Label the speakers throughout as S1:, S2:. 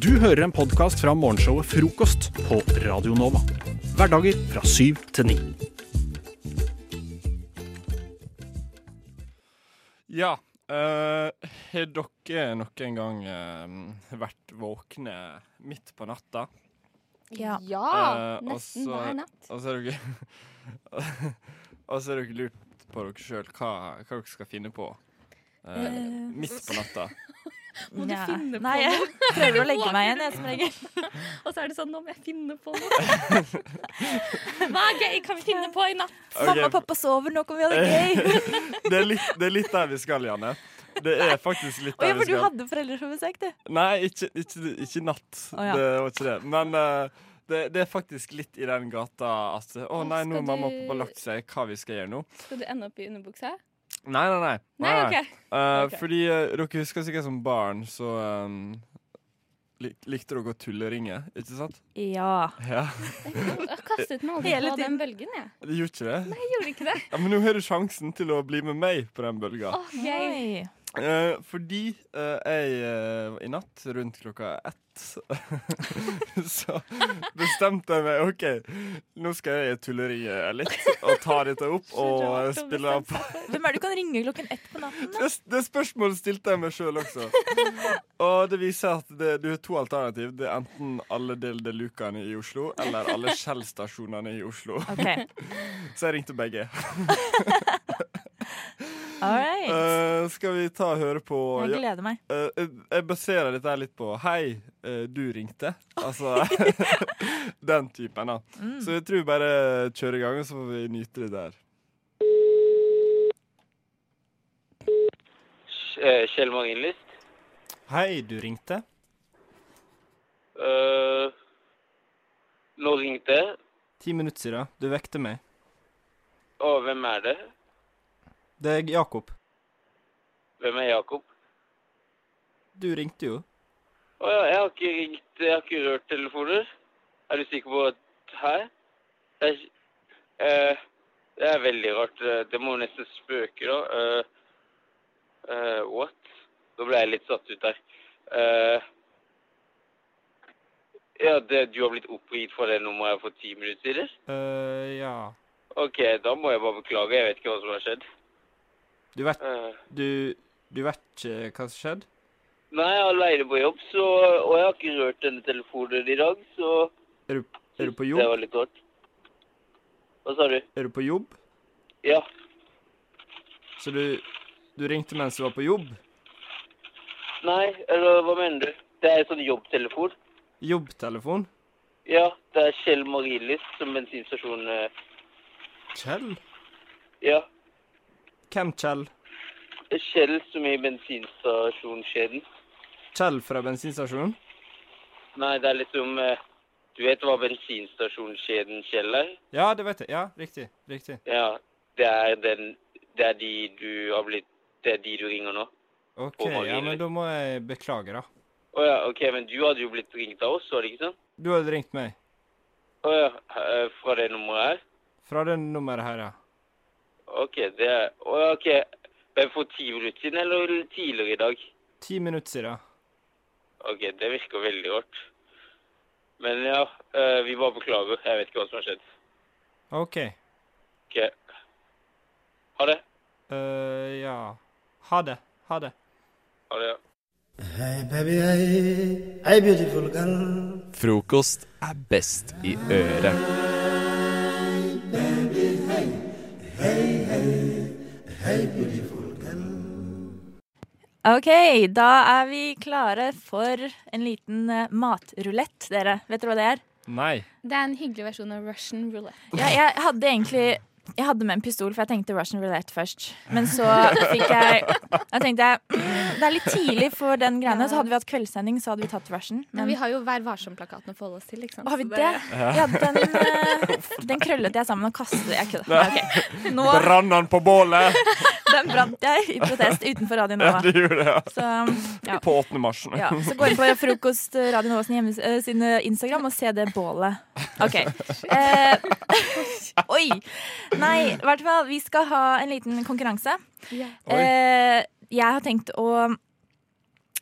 S1: Du hører en podkast fra morgenshowet Frokost på Radio Nova. Hverdager fra syv til ni.
S2: Ja. eh, har dere noen gang eh, vært våkne midt på natta?
S3: Ja.
S2: Eh, og
S3: nesten
S2: så-
S3: hver natt.
S2: Og så har dere, og så har dere lurt på dere sjøl hva, hva dere skal finne på eh,
S4: Eh.
S2: midt på natta.
S4: Må du
S3: Nja.
S4: finne på
S3: Nei, jeg prøver å legge meg igjen, jeg, som regel.
S4: Og så er det sånn, nå må jeg finne på noe. Hva er gøy? Kan vi finne på i natt?
S2: Ok.
S3: Mamma og pappa sover, nå kan vi ha det gøy.
S2: Det er litt, det er litt der vi skal, Janne. Det er faktisk litt
S3: Og ja,
S2: der vi
S3: for du
S2: skal.
S3: hadde foreldre på besøk, du.
S2: Nei, ikke, ikke, ikke natt.
S3: Å, ja.
S2: Det var ikke det. Men eh, det, det er faktisk litt i den gata at Å nei, nå
S4: Skal
S2: har mamma og
S4: du-
S2: pappa lagt seg. Hva vi skal gjøre nå?
S4: Skal du ende opp i underbuksa?
S2: Nei, nei, nei.
S4: Nei,
S2: nei.
S4: OK.
S2: Eh,
S4: Ok.
S2: Fordi eh, dere husker sikkert som barn, så eh, lik, likte dere å tulleringe, ikke sant?
S3: Ja.
S2: Ja.
S4: Jeg kastet meg aldri
S3: Hele
S4: på den bølgen, jeg.
S2: De gjorde ikke det?
S4: Jeg gjorde ikke det.
S2: Ja, men nå har du sjansen til å bli med meg på den bølga.
S4: Åh, gøy.
S3: Oi.
S2: Eh, fordi eh, jeg eh, i natt rundt klokka ett så bestemte jeg meg OK, nå skal jeg i tulleriet litt og ta dette opp og eh, spille av på
S3: Hvem er det du kan ringe klokken ett på natten? da?
S2: det, det spørsmålet stilte jeg meg sjøl også. Og det viser at det, du har to alternativ. Det er enten alle Del de Lucaene i Oslo eller alle Shell-stasjonene i Oslo.
S3: OK.
S2: Så jeg ringte begge.
S3: All right.
S2: Eh, skal vi ta og høre på
S3: Jeg gleder meg.
S2: Eh, eh, jeg baserer dette her litt på Hei, eh, du ringte. Altså den typen, da.
S3: Mm.
S2: Så jeg tror vi bare kjører i gang, og så får vi nyte det der.
S5: Eh, Kjell Magnenlyst.
S2: Hei, du ringte?
S5: Eh, nå ringte jeg.
S2: Ti minutter siden. Du vekte meg.
S5: Og hvem er det?
S2: Det er Jakob.
S5: Hvem er Jakob?
S2: Du ringte jo.
S5: Å ja, jeg har ikke ringt Jeg har ikke rørt telefoner. Er du sikker på at Hæ? Det er, ikke- eh, det er veldig rart. Eh, Det må nesten spøke, da. Eh, eh, what? Nå ble jeg litt satt ut der. Eh, ja, det, du har blitt oppringt fra det nummeret for ti minutter siden?
S2: Eh, ja.
S5: OK, da må jeg bare beklage. Jeg vet ikke hva som har skjedd.
S2: Du vet,
S5: Eh.
S2: du, du vet ikke hva som skjedde?
S5: Nei, jeg er aleine på jobb, så, og jeg har ikke rørt denne telefonen i dag, så
S2: Er du, er du på
S5: det
S2: jobb?
S5: var litt rart. Hva sa du?
S2: Er du på jobb?
S5: Ja.
S2: Så du, du ringte mens du var på jobb?
S5: Nei, eller hva mener du? Det er en sånn jobbtelefon.
S2: Jobbtelefon?
S5: Ja, det er Kjell Marilis som bensinstasjon eh,
S2: Kjell?
S5: Ja.
S2: Hvem Kjell?
S5: Kjell som er i bensinstasjonskjeden.
S2: Kjell fra bensinstasjonen?
S5: Nei, det er liksom eh, Du vet hva bensinstasjonskjeden Kjell er?
S2: Ja, det vet jeg. Ja, riktig. Riktig.
S5: Ja. Det er den Det er de du har blitt Det er de du ringer nå?
S2: OK,
S5: Og
S2: ja,
S5: Marie.
S2: men da må jeg beklage, da.
S5: Å ja, OK, men du hadde jo blitt ringt av oss, var det ikke sånn?
S2: Du hadde ringt meg
S5: Å ja, eh, fra det nummeret her?
S2: fra det nummeret her, ja.
S5: Ok, det er Å ja, ok. Men for ti minutter siden eller tidligere i dag?
S2: Ti minutter siden.
S5: Ok, det virker veldig rart. Men ja, eh, vi bare beklager. Jeg vet ikke hva som har skjedd.
S2: OK.
S5: Ok. Ha det.
S2: eh, ja. Ha det. Ha det.
S5: Ha det, ja.
S6: Hey baby, hey, hey beautiful girl.
S7: Frokost er best i øret.
S3: OK, da er vi klare for en liten eh, matrulett, dere. Vet dere hva det er?
S2: Nei.
S4: Det er en hyggelig versjon av Russian roulette.
S3: Ja, jeg hadde egentlig jeg hadde med en pistol, for jeg tenkte Russian roulette først. Men så fikk jeg Da tenkte jeg mm, det er litt tidlig for den greiene. Så hadde vi hatt kveldssending, så hadde vi tatt Russian.
S4: Men
S3: Men
S4: vi har jo Vær varsom-plakaten å forholde oss til. ikke sant?
S3: har vi
S4: Så
S3: det? Ja, den, eh, den krøllet jeg sammen og kastet. Jeg kødder. Nei, ok. Nå,
S2: Brann han på bålet?
S3: den brant jeg i protest utenfor Radio
S2: Ja,
S3: Nova.
S2: det gjorde jeg.
S3: Så, um, ja.
S2: På 8. mars.
S3: Ja, så gå inn på Frokost Radio Nova sin, hjemmes- eh, sin eh, Instagram og se det bålet. OK. Eh, oi! Nei, i hvert fall, vi skal ha en liten konkurranse.
S4: Ja.
S3: Eh, jeg har tenkt å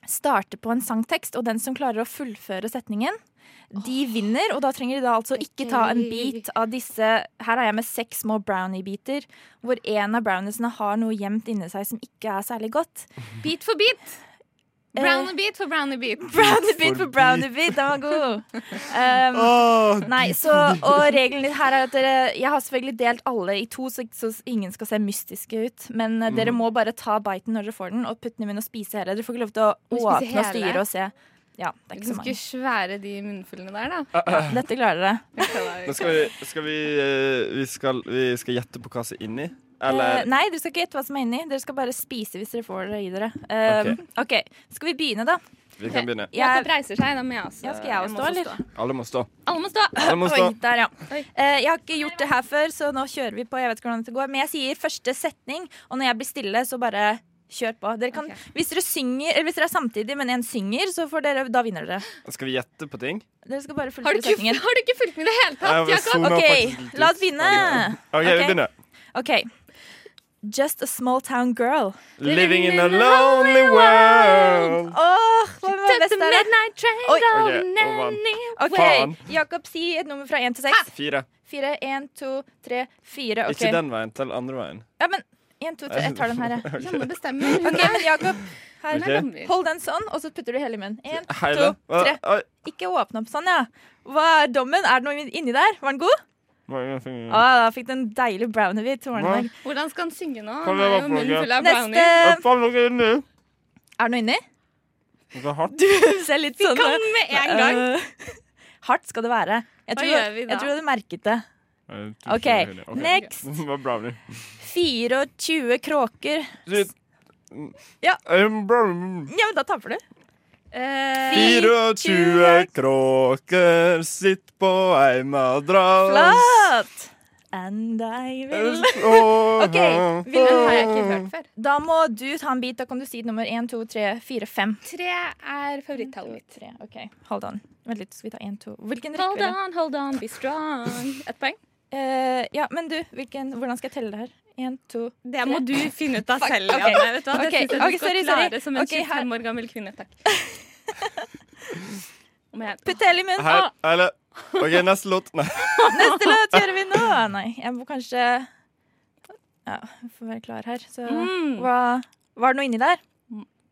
S3: starte på en sangtekst, og den som klarer å fullføre setningen, de vinner, og da trenger de da altså ikke ta en bit av disse Her har jeg med seks små brownie-biter, hvor en av browniesene har noe gjemt inni seg som ikke er særlig godt.
S4: Bit for bit.
S3: Eh,
S4: Brownie beat for brownie beat.
S3: Brownie-bit for brownie-bit, den var god! Um, Nei, så, og regelen litt her er at dere Jeg har selvfølgelig delt alle i to, så, så ingen skal se mystiske ut. Men eh, dere må bare ta biten når dere får den, og putte den i munnen og spise hele. Dere får ikke lov til å
S4: Må spise
S3: åpne og
S4: hele?
S3: styre og se. Ja, det er ikke så
S4: Ganske
S3: mange.
S4: svære de munnfullene der,
S3: Ah,
S4: da.
S3: Dette klarer dere.
S2: Men skal vi, skal vi, eh, vi, skal, vi skal gjette på hva som er inni?
S3: Eh,
S2: Eller
S3: nei, dere skal ikke gjette hva som er inni. Dere skal bare spise hvis dere får det i dere. Eh, ok, Skal vi begynne, da?
S2: vi kan begynne.
S3: Jeg-
S4: Jakob reiser seg. Da må jeg også,
S3: Ja, skal jeg også
S4: må
S3: stå, eller?
S2: Alle må stå.
S4: Alle må stå.
S2: Alle må stå.
S3: Oi, der, ja.
S4: Oi.
S3: Eh, jeg har ikke gjort det her før, så nå kjører vi på. Jeg vet ikke hvordan dette går, Men jeg sier første setning, og når jeg blir stille, så bare kjør på. Dere kan,
S4: Ok.
S3: hvis, dere synger, eller hvis dere er samtidig, men én synger, så får dere, da vinner dere.
S2: Skal vi gjette på ting?
S3: Dere skal bare
S4: Har du,
S3: fullføre
S4: ikke,
S3: setningen.
S4: har du ikke fulgt med i det hele tatt,
S2: Jeg var
S4: Jakob?
S2: sona
S3: Ok,
S2: faktisk litt ut.
S3: la oss begynne.
S2: OK,
S3: Ok.
S2: vi begynner.
S3: OK. Just a small town girl.
S2: Living in a lonely world.
S3: Åh, hvem var
S4: Took
S3: best
S4: the
S3: der? da?
S4: midnight train
S3: Oi.
S4: down
S2: Ok, og vant.
S4: anywhere.
S3: OK,
S2: Faen.
S3: Jakob, si et nummer fra én til seks.
S2: Fire.
S3: Fire, én, to, tre, fire. OK.
S2: Ikke den veien, tell andre veien.
S3: Ja, men én, to, tre. Jeg tar den her, jeg.
S4: Janne bestemmer. Hun
S3: OK,
S4: er-
S3: men Jakob, her.
S4: hun er
S2: Ok.
S4: dommer.
S3: Hold den sånn, og så putter du hele i munnen. En,
S2: Hele?
S3: to, tre.
S2: Oi.
S3: Ikke åpne opp sånn, ja. Hva er dommen? Er det noe inni der? Var den god?
S2: Mange
S3: Å,
S2: fingre.
S3: da fikk du en deilig brownie-hvit. Er
S4: Hvordan skal han synge nå?
S2: Kom
S4: Han er
S2: igjen,
S4: jo
S2: Frogge.
S4: munnen full av
S3: Neste.
S4: brownie.
S2: Hva faen lå inni?
S3: det noe inni?
S2: Noe hardt?
S3: Du ser litt sånn
S4: Kom med en gang.
S3: Eh, hardt skal det være. Jeg
S4: Hva
S3: tror,
S4: gjør vi da?
S3: Jeg tror du merket det.
S2: Nei, Eh, to
S3: OK,
S2: fingre inni. Ok.
S3: next.
S2: Det var brownie.
S3: 24 kråker.
S2: Shit.
S3: Ja.
S2: En brownie.
S3: Ja, men da taper du.
S4: Eh,
S2: 24 kråker sitt på ei madrass.
S3: Flott! And I will
S2: OK,
S3: Ok, vil
S4: Den har jeg ikke hørt før.
S3: Da må du ta en bit. Da kan du si nummer 1, 2, 3, 4, 5.
S4: Tre er favorittallet mitt.
S3: Tre, OK. Hold on. Vent litt, skal vi ta 1, 2 Hvilken
S4: Hold
S3: rekkefølge?
S4: on, hold on, be strong. Ett poeng.
S3: Eh, ja, men du, hvilken, hvordan skal jeg telle det her? Én, to
S4: Det må du finne ut av selv.
S3: Ok.
S4: Janne, vet du hva?
S3: Ok,
S4: Det synes jeg
S3: ok,
S4: du skal
S3: sorry, sorry.
S4: klare som en
S3: Ok, her-
S4: 25 år gammel kvinne. Takk. Om jeg-
S3: Putt hele i munnen!
S2: Her, eller OK, neste låt. Nei.
S3: Neste låt gjør vi nå! Nei, jeg må kanskje Ja, jeg får være klar her, så
S4: Mm.
S3: Hva, Var det noe inni der?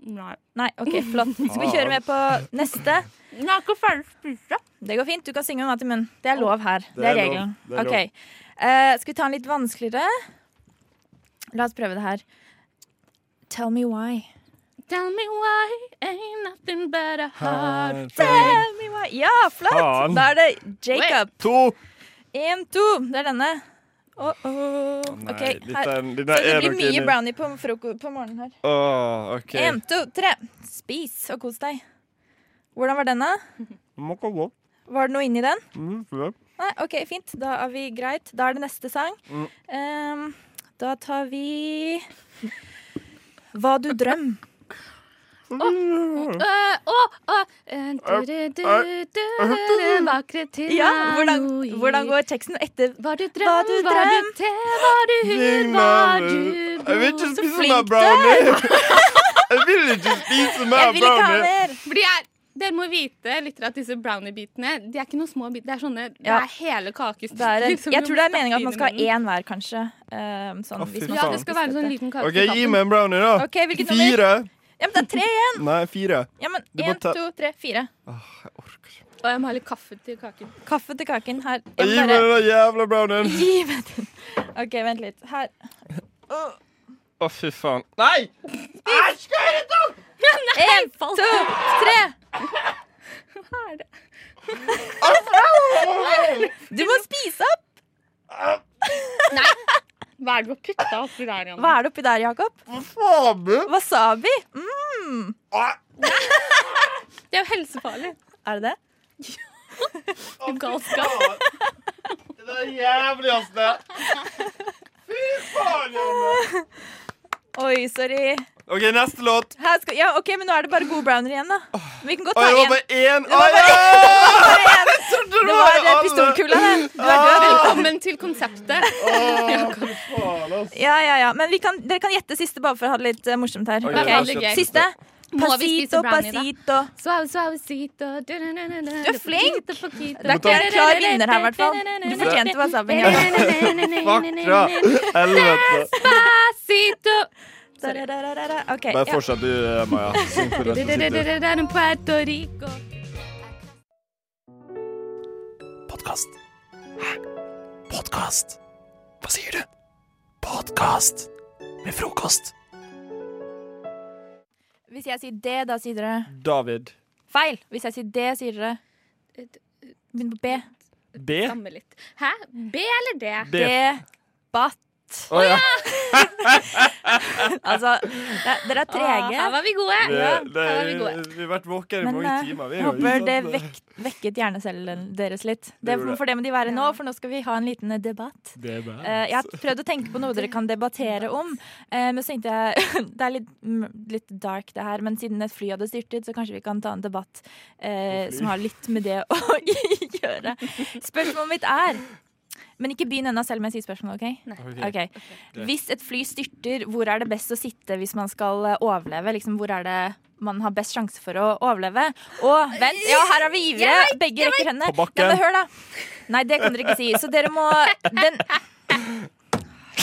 S4: Nei.
S3: Nei, OK, flott. Skal vi kjøre med på neste?
S4: Jeg er ikke ferdig å spise.
S3: Det går fint. Du kan synge med mat i munnen. Det er lov her.
S2: Det
S3: Det er
S2: er lov.
S3: regelen.
S2: Det er lov.
S3: OK. Eh, skal vi ta en litt vanskeligere? La oss prøve det her. Tell me why.
S4: Tell me why ain't nothing but a heart.
S3: Tell me why. Ja, flott!
S2: Faen.
S3: Da er det Jacob.
S2: To.
S3: En, to. Det er denne. Åh, åh.
S2: Nei,
S3: OK, her.
S2: dette- dette
S3: Så det
S2: er
S3: blir
S2: dere
S3: mye
S2: inni.
S3: brownie på, froko- på morgenen her.
S2: Åh, OK.
S3: En, to, tre. Spis og kos deg. Hvordan var denne?
S2: Må ikke gå.
S3: Var det noe inni den?
S2: Mm, ja.
S3: Nei, OK, fint. Da er vi greit. Da er det neste sang.
S2: Mm.
S3: Ehm, da tar vi Hva du drøm.
S4: Øh, åh, åh. Eh, du-du-du-du-du, Vakre til
S3: Ja, hvordan, hvordan går teksten etter?
S4: Var du
S3: Var
S4: drøm,
S3: du
S4: var du
S3: drøm?
S4: te, var du hud, var du
S2: Jeg vil ikke
S4: blod?
S2: spise
S3: flink
S2: mer
S3: du
S2: brownie. Jeg vil ikke spise mer
S3: Jeg vil ikke ha
S2: brownie.
S3: mer!
S4: For de er, dere må vite lytter, at disse brownie-bitene De er ikke noen små biter. Det er sånne Det
S3: Ja.
S4: er hele kakestykker.
S3: Det er en,
S4: som
S3: jeg
S4: du liksom
S3: tror det er
S4: må
S3: meningen at man
S4: stappe inn i
S3: skal
S4: munnen.
S3: ha én hver, kanskje. Ehm, sånn,
S2: Å,
S3: hvis
S2: fy
S3: man
S4: Ja,
S3: skal
S4: det
S3: spise
S4: skal være en sånn
S3: dette.
S4: liten kake. på
S2: OK, gi
S4: kanten.
S2: meg en brownie, da.
S3: OK, hvilket nummer?
S2: Fire.
S3: Ja, men det er tre igjen!
S2: Nei, fire.
S3: Ja, men
S2: Du må
S3: Én,
S2: ta-
S3: to, tre, fire.
S2: Åh, jeg orker ikke.
S4: Og jeg må ha litt kaffe til kaken.
S3: Kaffe til kaken her. Jeg
S2: Gi
S3: må
S2: meg
S3: bare
S2: den jævla brownien.
S3: Gi meg den. OK, vent litt. Her.
S2: Å, fy faen. Nei!
S3: Én, to, tre!
S4: Hva er det?
S3: Du må spise opp!
S8: Uh,
S4: Hva er det du har putta oppi der, Janne?
S3: Hva er det oppi der, Jakob?
S2: Faen, du.
S3: Wasabi? Mm.
S4: Det er jo helsefarlig.
S3: Er det det?
S4: Galskap.
S2: Det er det jævligste. Fy faen, Janne.
S3: Oi, sorry.
S2: OK, neste låt.
S3: Her skal, ja, ok, Men nå er det bare gode browner igjen, da. Vi kan godt
S2: Å,
S3: ta
S2: det var
S3: én.
S2: bare én. Å,
S3: var bare-
S2: ja!
S3: Det
S2: Det
S3: var Ah! det
S2: alle.
S3: pistolkula, det. Du er død.
S4: Velkommen til konseptet.
S2: Å, fy faen, altså. ass.
S3: Ja, ja, ja. Men vi kan, dere kan gjette siste, bare for å ha det litt eh, morsomt her. Ok.
S2: Ok,
S4: la oss gjette
S3: Siste.
S4: Må vi spise
S3: Pasito,
S4: brownie, da?
S3: pasito.
S4: Swab, swab, sito, du
S3: er flink! Det er ikke en klar vinner her, i hvert fall. Du fortjente wasabien. ja.
S2: Fuck fra helvete.
S4: Sito.
S3: Da, da, da, da, da. Ok,
S2: Bare
S3: ja.
S2: fortsett du, eh, Maja. Syng for resten av sitt liv.
S4: Puerto Rico.
S7: Podkast. Hæ? Podkast? Hva sier du? Podkast med frokost.
S3: Hvis jeg sier det, da sier dere
S2: David
S3: feil. Hvis jeg siyer det, sier dere Begynn på B.
S2: B.
S4: Stammer litt. Hæ? B eller D?
S2: B.
S3: Debatt.
S2: Å ja.
S3: Altså, det, dere er
S4: Åh,
S3: trege.
S4: Her var vi gode.
S2: Det, det,
S4: her var vi gode.
S2: vi har vært våkne i
S3: Men
S2: mange
S3: eh,
S2: timer. Vi
S3: jeg
S2: er jo
S3: håper
S2: ikke
S3: det
S2: sant?
S3: vekk, vekket hjernecellen deres litt. Det,
S2: gjorde det.
S3: for det må de være nå,
S4: Ja.
S3: for nå skal vi ha en liten eh, debatt.
S2: Det er bra.
S3: Eh, jeg har prøvd å tenke på noe dere kan debattere om, eh, men så tenkte jeg Det er litt, mm, litt dark, det her, men siden et fly hadde styrtet, så kanskje vi kan ta en debatt eh,
S2: Om fly.
S3: som har litt med det å gjøre. Spørsmålet mitt er Men ikke begynn ennå selv om jeg sier spørsmålet, OK?
S2: Ok.
S3: Ok. Hvis et fly styrter, hvor er det best å sitte hvis man skal eh, overleve? Liksom, hvor er det man har best sjanse for å overleve? Og vent, ja, her har vi ivrige. Begge rekker hendene.
S2: På bakken.
S3: Ja, men hør, da. Nei, det kan dere ikke si. Så dere må Den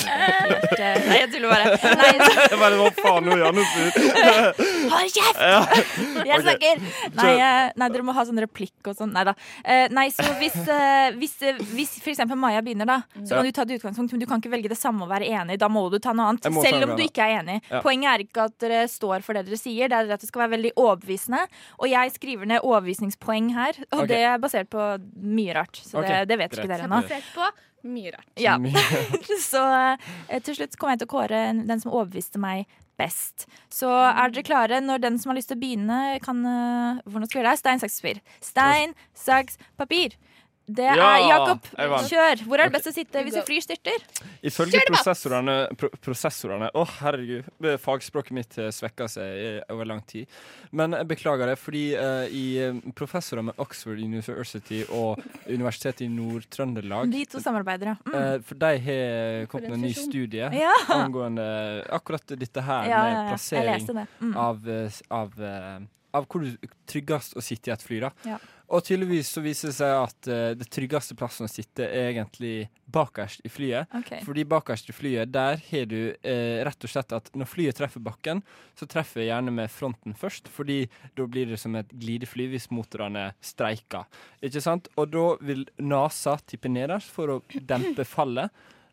S3: Helt, eh, Nei, jeg tuller bare. Nei, så-
S2: Det var det var faen noe annet ut.
S3: hold kjeft! Jeg
S2: Ok.
S3: snakker! Nei, eh, nei, dere må ha sånn replikk og sånn. Nei da. Eh, Nei, så hvis, eh, hvis, eh, hvis for eksempel Maja begynner, da, så
S2: Ja.
S3: kan du ta det i utgangspunkt, men du kan ikke velge det samme og være enig. Da må du ta noe annet.
S2: Jeg må ta
S3: Selv
S2: noe
S3: om du
S2: annet.
S3: ikke er enig.
S2: Ja.
S3: Poenget er ikke at dere står for det dere sier, det er at det skal være veldig overbevisende. Og jeg skriver ned overbevisningspoeng her, og
S2: Ok.
S3: det er basert på mye rart. Så
S2: Ok,
S3: det, det vet ikke
S2: greit.
S3: dere ennå.
S4: Basert på mye rart.
S3: Ja. Så eh, til slutt kommer jeg til å kåre en- den som overbeviste meg best. Så er dere klare når den som har lyst til å begynne, kan eh, Hvordan skal vi gjøre det? Stein, saks, papir. Stein, saks, papir. Det er
S2: Ja,
S3: Jakob.
S2: jeg vant.
S3: Kjør! Hvor er det best å sitte hvis et fly styrter?
S2: Ifølge prosessorene, pro prosessorene Å, herregud. eh, Fagspråket mitt eh, svekka seg i, over lang tid. Men jeg beklager det, fordi eh, i eh, professorer med Oxford University og Universitetet i Nord-Trøndelag
S3: De to samarbeider, ja. Mm.
S2: eh, For de har kommet med en ny
S4: fusjon.
S2: studie
S3: Ja.
S2: angående akkurat dette her
S3: Ja, ja,
S2: med
S3: ja. Jeg
S2: plassering
S3: leste det. Mm.
S2: av, eh, s- av, eh, av hvor du tryggest å sitte i et fly. da.
S3: Ja.
S2: Og tydeligvis så viser det seg at eh, det tryggeste plassen å sitte er egentlig bakerst i flyet.
S3: Ok.
S2: Fordi bakerst i flyet, der har du eh, rett og slett at når flyet treffer bakken, så treffer jeg gjerne med fronten først, fordi da blir det som et glidefly hvis motorene streiker. Ikke sant? Og da vil NASA tippe nederst for å dempe fallet.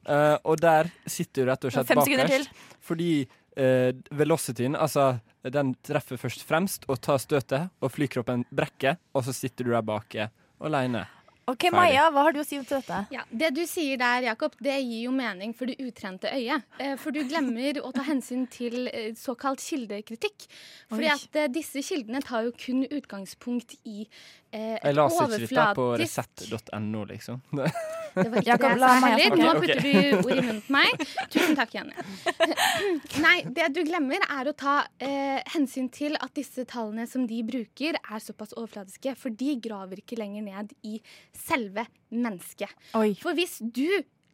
S2: Eh, og der sitter du rett og slett
S3: Fem sekunder til.
S2: bakerst, fordi eh, velocityen, altså den treffer først fremst og tar støtet, og flykroppen brekker, og så sitter du der eh, bake alene.
S3: OK, Maja, hva har du å si om til dette?
S4: Ja, Det du sier der, Jakob, det gir jo mening for det utrente øyet. Eh, For du glemmer å ta hensyn til eh, såkalt kildekritikk. Fordi
S3: Oi.
S4: at eh, disse kildene tar jo kun utgangspunkt i eh,
S2: Jeg
S4: et
S2: leser ikke dette på
S4: overflatisk
S2: resett.no, liksom.
S4: Det var ikke
S3: Jakob,
S4: det jeg
S3: la
S4: sa
S3: meg
S4: heller.
S3: snakke.
S4: Nå
S2: Ok,
S4: putter du ord i munnen på meg. Tusen takk, Jenny. Nei, det du glemmer, er å ta eh, hensyn til at disse tallene som de bruker, er såpass overfladiske, for de graver ikke lenger ned i selve mennesket.
S3: Oi.
S4: For hvis du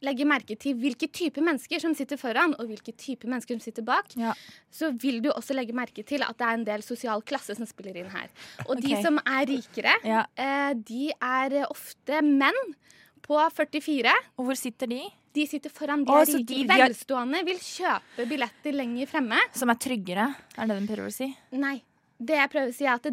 S4: legger merke til hvilke type mennesker som sitter foran, og hvilke type mennesker som sitter bak,
S3: Ja.
S4: så vil du også legge merke til at det er en del sosial klasse som spiller inn her. Og
S3: Ok.
S4: de som er rikere,
S3: Ja.
S4: eh, de er ofte menn på 44.
S3: Og hvor sitter de?
S4: De sitter foran de
S3: Å,
S4: er
S3: så
S4: rike.
S3: de- de er-
S4: Velstående vil kjøpe billetter lenger fremme.
S3: Som er tryggere, er det den prøver å si?
S4: Nei. Det jeg prøver å si, er at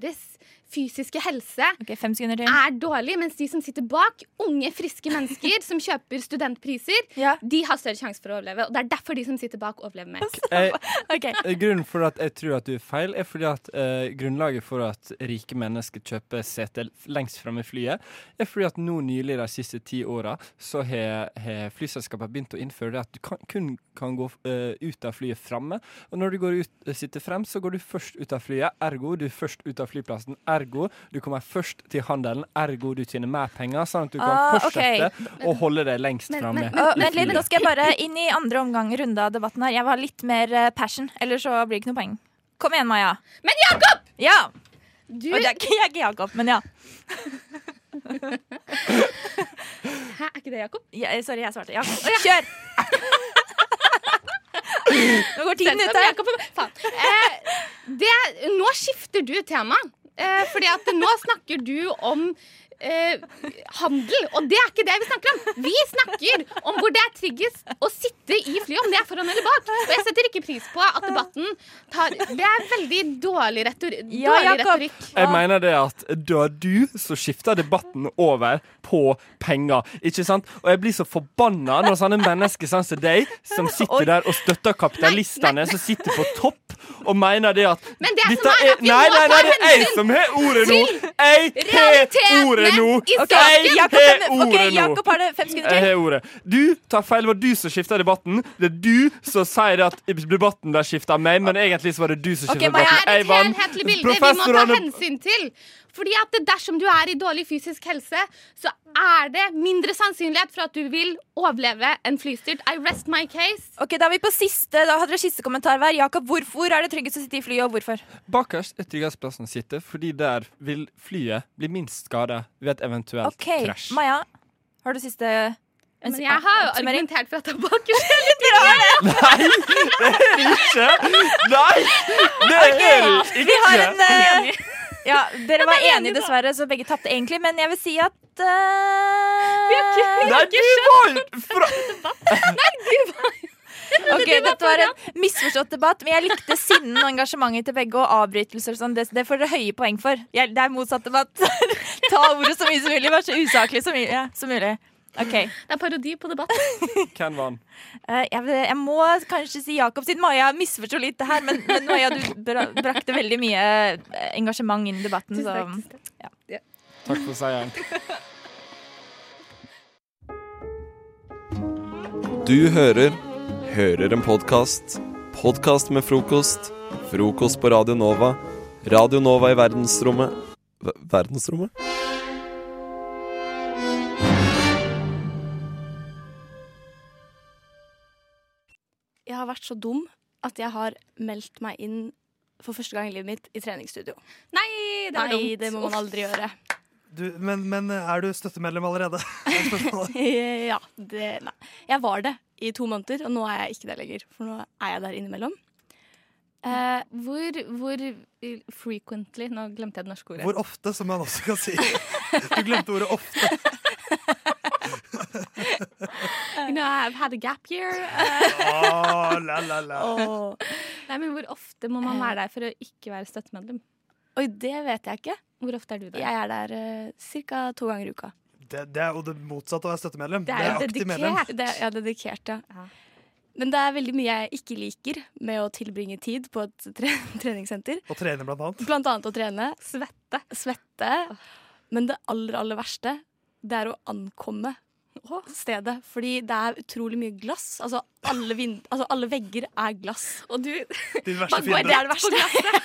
S4: deres fysiske helse
S3: OK, fem sekunder til.
S4: er dårlig, mens de som sitter bak, unge, friske mennesker som kjøper studentpriser,
S3: Ja,
S4: de har større sjanse for å overleve. Og det er derfor de som sitter bak, overlever mer.
S2: Jeg,
S3: OK.
S2: Eh, Grunnen for at jeg tror at du er feil, er fordi at eh, grunnlaget for at rike mennesker kjøper sete l- lengst framme i flyet, er fordi at nå nylig de siste ti åra så har har flyselskapene begynt å innføre det at du kan, kun kan gå eh, ut av flyet framme. Og når du går ut, eh, sitter frem, så går du først ut av flyet, ergo du er først ut av flyplassen, ergo du kommer først til handelen, ergo du tjener mer penger, sånn at du kan
S3: Ah, ok.
S2: fortsette å holde deg lengst
S4: Men-
S2: framme.
S4: men-
S3: Å,
S2: i
S3: Vent litt,
S2: flyet.
S3: nå skal jeg bare inn i andre omgang runde av debatten her. Jeg vil ha litt mer eh, passion, ellers så blir det ikke noe poeng. Kom igjen, Maja.
S4: Men Jakob!
S3: Ja!
S4: Du,
S3: Og det er ikke, jeg er ikke Jakob, men ja.
S4: hæ, er ikke det Jakob?
S3: Jeg, eh, sorry, jeg svarte. Jakob. Kjør! Nå går tiden
S4: Sensor,
S3: ut her.
S4: Jakob, faen. Eh, Det, nå skifter du tema. Eh, fordi at nå snakker du om eh, handel, og det er ikke det vi snakker om. Vi snakker om hvor det er tryggest å sitte i flyet, om det er foran eller bak. Og jeg setter ikke pris på at debatten tar Det er veldig dårlig, retor
S3: Ja,
S4: dårlig
S3: Jakob.
S4: retorikk.
S2: Jeg mener det at dør du, så skifter debatten over på penger. Ikke sant? Og jeg blir så forbanna når sånne mennesker sånn som deg, som sitter der og støtter kapitalistene, som sitter på topp og mener det at
S4: Men det som
S2: dette
S4: er at vi
S2: Nei,
S4: må
S2: nei,
S4: ta
S2: nei, det er jeg
S4: hensyn
S2: som har ordet nå! Jeg har
S4: realitetene
S2: ordet nå!
S4: i
S3: Ok,
S2: Jeg
S3: Jakob,
S2: har
S3: kan- ok,
S2: ordet nå!
S3: Jakob har det fem sekunder
S2: Jeg
S4: Eh,
S3: til.
S2: har ordet. Du tar feil. Det var du som skifta debatten. Det er du som sier at debatten ble skifta av meg, men egentlig så var det du som
S3: Ok,
S2: skifta
S3: Maja,
S2: debatten.
S4: Det er
S2: Jeg
S4: et
S2: vant.
S4: helhetlig bilde vi må ta
S2: Professorene-
S4: hensyn til. Fordi at dersom du er i dårlig fysisk helse, så er det mindre sannsynlighet for at du vil overleve en flystyrt. I rest my case.
S3: Ok, Da er vi på siste Da hadde dere siste kommentar hver. Jakob, hvorfor er det tryggest å sitte i flyet, og hvorfor?
S2: Bakerst er tryggest plassen å sitte, fordi der vil flyet bli minst skada ved et eventuelt
S3: Ok,
S2: krasj.
S3: Maja, har du siste en
S4: Men
S3: si-
S4: jeg har jo
S3: oppsummering?
S4: argumentert for at det er bakerst.
S2: Ikke? Nei! Det er det
S3: Vi har en
S2: ikke!
S3: eh, Ja, dere var enige, dessverre, så begge tapte egentlig, men jeg vil si at eh,
S2: Nei, du var jo fra
S3: Ok, dette var en misforstått debatt, men jeg likte sinnen og engasjementet til begge, og avbrytelser og sånn. Det, det får dere høye poeng for. Jeg, det er motsatt debatt. Ta ordet så mye som mulig, vær så usaklig som, mye- ja, som mulig. Ok,
S4: Det er parodi på debatt.
S2: Hvem vant?
S3: eh, jeg, vil- jeg må kanskje si Jakob siden Maja misforsto litt det her, men, men Maja, du bra, brakte veldig mye eh, engasjement inn i debatten,
S4: Tusen
S3: så
S4: takk, tusen takk.
S2: Takk for seieren.
S9: Du hører Hører en podkast. Podkast med frokost. Frokost på Radio Nova. Radio Nova i verdensrommet Ver- Verdensrommet?
S10: Jeg har vært så dum at jeg har meldt meg inn for første gang i livet mitt i treningsstudio.
S4: Nei, det er
S10: Nei,
S4: dumt.
S10: det må man aldri gjøre.
S11: Du, men, men eh, er du støttemedlem allerede? Er spørsmålet.
S10: Ja, det, nei. Jeg var det i to måneder, og nå er jeg ikke det lenger. For nå er jeg der innimellom. Eh,
S4: Hvor, hvor frequently Nå glemte jeg det norske ordet.
S11: Hvor ofte, som man også kan si. Du glemte ordet ofte.
S4: You know, I've had a gap year. Eh,
S11: Ah, la, la, la.
S10: og,
S4: Nei, men Hvor ofte må man være der for å ikke være støttemedlem?
S10: oi, det vet jeg ikke.
S4: Hvor ofte er du der?
S10: Jeg er der uh, ca. to ganger i uka.
S11: Det, det er jo det motsatte av å være støttemedlem.
S4: Det er jo
S11: aktiv
S4: dedikert.
S11: medlem.
S10: Det, jeg er dedikert, ja.
S4: Ja.
S10: Men det er veldig mye jeg ikke liker med å tilbringe tid på et tre treningssenter.
S11: Og trener, blant annet.
S10: Blant annet å trene. Svette. Men det aller, aller verste, det er å ankomme stedet. Fordi det er utrolig mye glass. Altså, alle, vind altså, alle vegger er glass. Og du
S11: Din verste
S10: Bare det
S11: fiende.
S10: er det verste.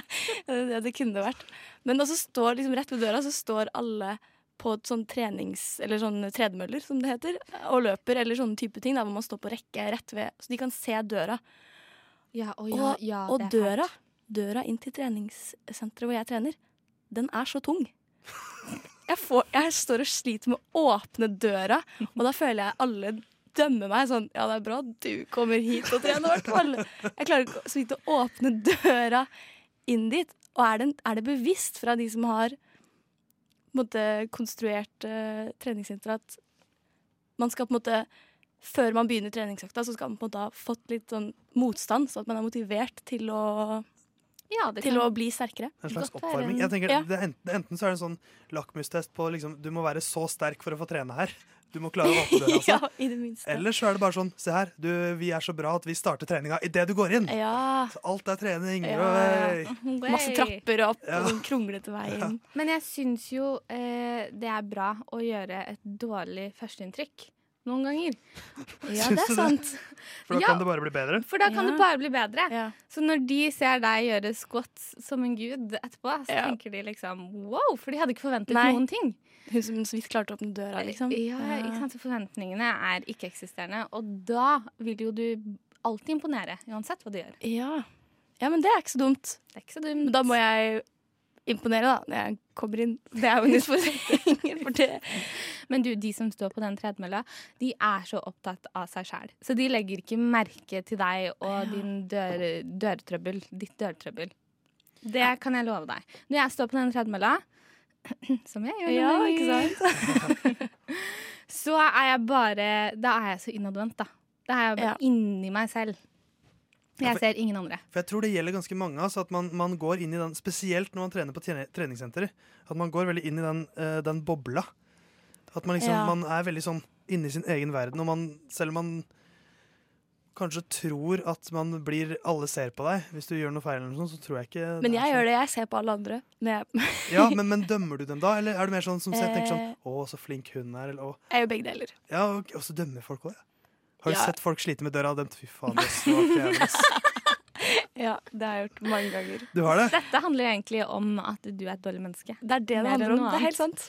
S10: det, er det det kunne det vært. Men også står liksom rett ved døra så står alle på et sånn trenings... Eller sånn tredemøller, som det heter, og løper, eller sånne type ting, der hvor man står på rekke rett ved Så de kan se døra.
S4: Ja, å
S10: Og,
S4: ja, ja,
S10: og
S4: det er
S10: døra,
S4: fælt.
S10: døra inn til treningssenteret hvor jeg trener, den er så tung. Jeg, får, jeg står og sliter med å åpne døra, og da føler jeg alle dømmer meg sånn Ja, det er bra du kommer hit og trener, i hvert fall. Jeg klarer ikke så vidt å åpne døra inn dit. Og er det, er det bevisst fra de som har på en måte, konstruert uh, treningssenter, at man skal på en måte før man begynner treningsøkta, så skal man på en måte ha fått litt sånn motstand, så at man er motivert til å,
S4: Ja, det
S10: til
S4: kan-
S10: å bli sterkere.
S11: En slags
S4: Godt å være
S11: oppvarming.
S4: en-
S11: Jeg tenker,
S10: Ja.
S11: det er enten, enten så er det en sånn lakmustest på liksom, Du må være så sterk for å få trene her. Du må klare å åpne døra. Altså.
S10: ja, i det minste.
S11: Eller så er det bare sånn Se her, du, vi er så bra at vi starter treninga idet du går inn.
S10: Ja.
S11: Så alt er trening.
S10: Ja,
S11: Oi.
S10: Mm,
S4: Way.
S10: Masse trapper opp
S11: Ja.
S10: og sånn kronglete veien.
S4: Men jeg syns jo eh, det er bra å gjøre et dårlig førsteinntrykk noen ganger.
S10: Ja,
S11: Syns du
S10: det er
S11: det?
S10: sant.
S11: For da
S4: Ja.
S11: kan det bare bli bedre.
S4: For da kan
S10: Ja.
S4: det bare bli bedre.
S10: Ja.
S4: Så når de ser deg gjøre squats som en gud etterpå, så
S10: Ja.
S4: tenker de liksom wow, for de hadde ikke forventet
S10: Nei.
S4: noen ting.
S10: Hun som så vidt klarte å åpne døra, liksom.
S4: Ja, ikke sant? Så forventningene er ikke-eksisterende, og da vil jo du alltid imponere, uansett hva du gjør.
S10: Ja. ja, men det er ikke så dumt.
S4: Det er ikke så dumt.
S10: Men da må jeg imponere, da, når jeg kommer inn. Det er jo en utfordring. For det.
S4: Men du, de som står på den tredemølla, de er så opptatt av seg sjæl. Så de legger ikke merke til deg og din dør, dørtrøbbel, ditt dørtrøbbel. Det kan jeg love deg. Når jeg står på den tredemølla, som jeg gjør
S10: Ja,
S4: noen ganger,
S10: ikke
S4: så er jeg bare Da er jeg så innadvendt, da. Da er jeg bare inni meg selv.
S11: Ja,
S4: Jeg
S11: for-
S4: ser ingen andre.
S11: For jeg tror det gjelder ganske mange altså, at man, man går inn i den, spesielt når man trener på trene- treningssenter, at man går veldig inn i den, eh, den bobla. At man liksom,
S12: Ja.
S11: man er veldig sånn inne i sin egen verden, og man, selv om man kanskje tror at man blir alle ser på deg hvis du gjør noe feil eller noe sånt, så tror jeg ikke det
S10: Men
S11: er
S10: jeg
S11: sånn.
S10: gjør det. Jeg ser på alle andre. Men jeg,
S11: Ja, men, men dømmer du dem da, eller er du mer sånn som jeg tenker sånn
S10: Eh.
S11: Å, så flink hun er, eller å
S10: jeg gjør begge deler.
S11: Ja, og, og så dømmer folk òg, ja. Har du
S10: Ja.
S11: sett folk slite med døra og dømt? Fy faen, det er svak jævel, ass.
S4: Ja, det har jeg gjort mange ganger.
S11: Du har det?
S4: Dette handler egentlig om at du er et dårlig menneske.
S10: Det er det det handler om. Det er helt sant.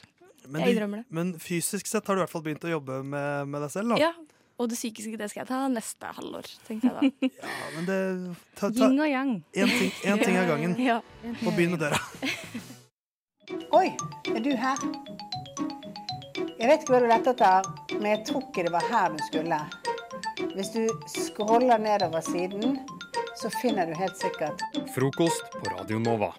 S11: Men,
S10: jeg
S11: du-
S10: innrømmer det.
S11: men fysisk sett har du i hvert fall begynt å jobbe med, med deg selv, da.
S10: Ja. Og det psykiske det skal jeg ta neste halvår, tenkte jeg da.
S11: Ja, men det, ta, ta,
S10: Yin og yang.
S11: En ting, en ting av gangen.
S10: Ja.
S11: Og begynn med døra.
S13: Oi, er du her? Jeg vet ikke hva du lette etter, men jeg tror ikke det var her du skulle. Hvis du scroller nedover siden, så finner du helt sikkert
S1: Frokost på Radio Nova.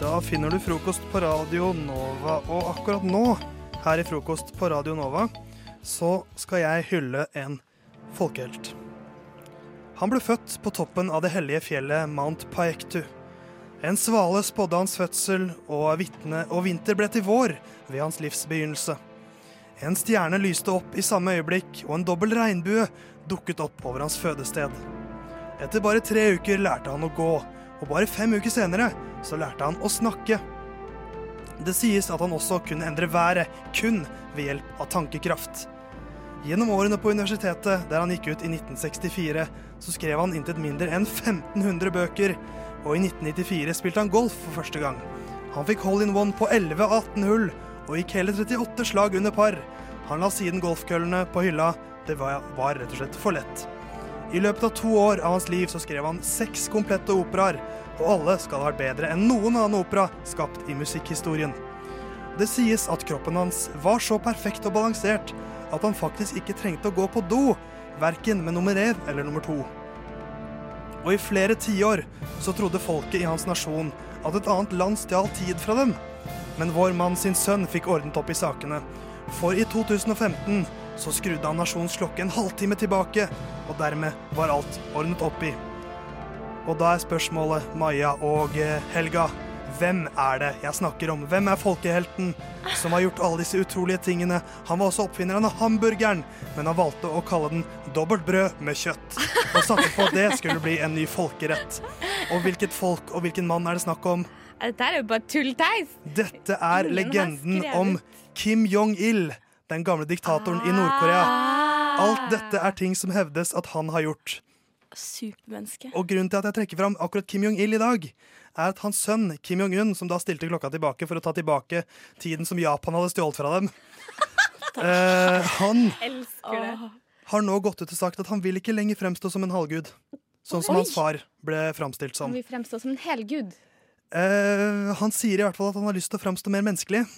S11: Da finner du frokost på Radio Nova, og akkurat nå, her i frokost på Radio Nova, så skal jeg hylle en folkehelt. Han ble født på toppen av det hellige fjellet Mount Paektu. En svale spådde hans fødsel, og vitne og vinter ble til vår ved hans livs begynnelse. En stjerne lyste opp i samme øyeblikk, og en dobbel regnbue dukket opp over hans fødested. Etter bare tre uker lærte han å gå, og bare fem uker senere så lærte han å snakke. Det sies at han også kunne endre været, kun ved hjelp av tankekraft. Gjennom årene på universitetet, der han gikk ut i 1964, så skrev han intet mindre enn 1500 bøker, og i 1994 spilte han golf for første gang. Han fikk hole-in-one på 11 av 18 hull, og gikk hele 38 slag under par. Han la siden golfkøllene på hylla, det var, var rett og slett for lett. I løpet av to år av hans liv så skrev han seks komplette operaer, og alle skal ha vært bedre enn noen annen opera skapt i musikkhistorien. Det sies at kroppen hans var så perfekt og balansert at han faktisk ikke trengte å gå på do, verken med nummer én eller nummer to. Og i flere tiår så trodde folket i hans nasjon at et annet land stjal tid fra dem. Men vår mann sin sønn fikk ordnet opp i sakene. For i 2015 så skrudde han nasjonens klokke en halvtime tilbake, og dermed var alt ordnet opp i. Og da er spørsmålet, Maja og eh, Helga, hvem er det jeg snakker om? Hvem er folkehelten som har gjort alle disse utrolige tingene? Han var også oppfinneren av hamburgeren, men han valgte å kalle den dobbelt brød med kjøtt. Og satset på at det skulle bli en ny folkerett. Og hvilket folk og hvilken mann er det snakk om?
S4: Dette er jo bare tullteis.
S11: Dette er
S4: Ingen har
S11: legenden
S4: skrevet.
S11: om Kim Jong-il, den gamle diktatoren i Nord-Korea. Alt dette er ting som hevdes at han har gjort.
S10: Supermenneske.
S11: Og grunnen til at jeg trekker fram akkurat Kim Jong-il i dag, er at hans sønn Kim Jong-un, som da stilte klokka tilbake for å ta tilbake tiden som Japan hadde stjålet fra dem, eh, han
S4: Elsker det.
S11: har nå gått ut og sagt at han vil ikke lenger fremstå som en halvgud. Sånn som
S4: Oi.
S11: hans far ble fremstilt som.
S4: Han vil fremstå som en helgud.
S11: Eh, han sier i hvert fall at han har lyst til å framstå mer menneskelig.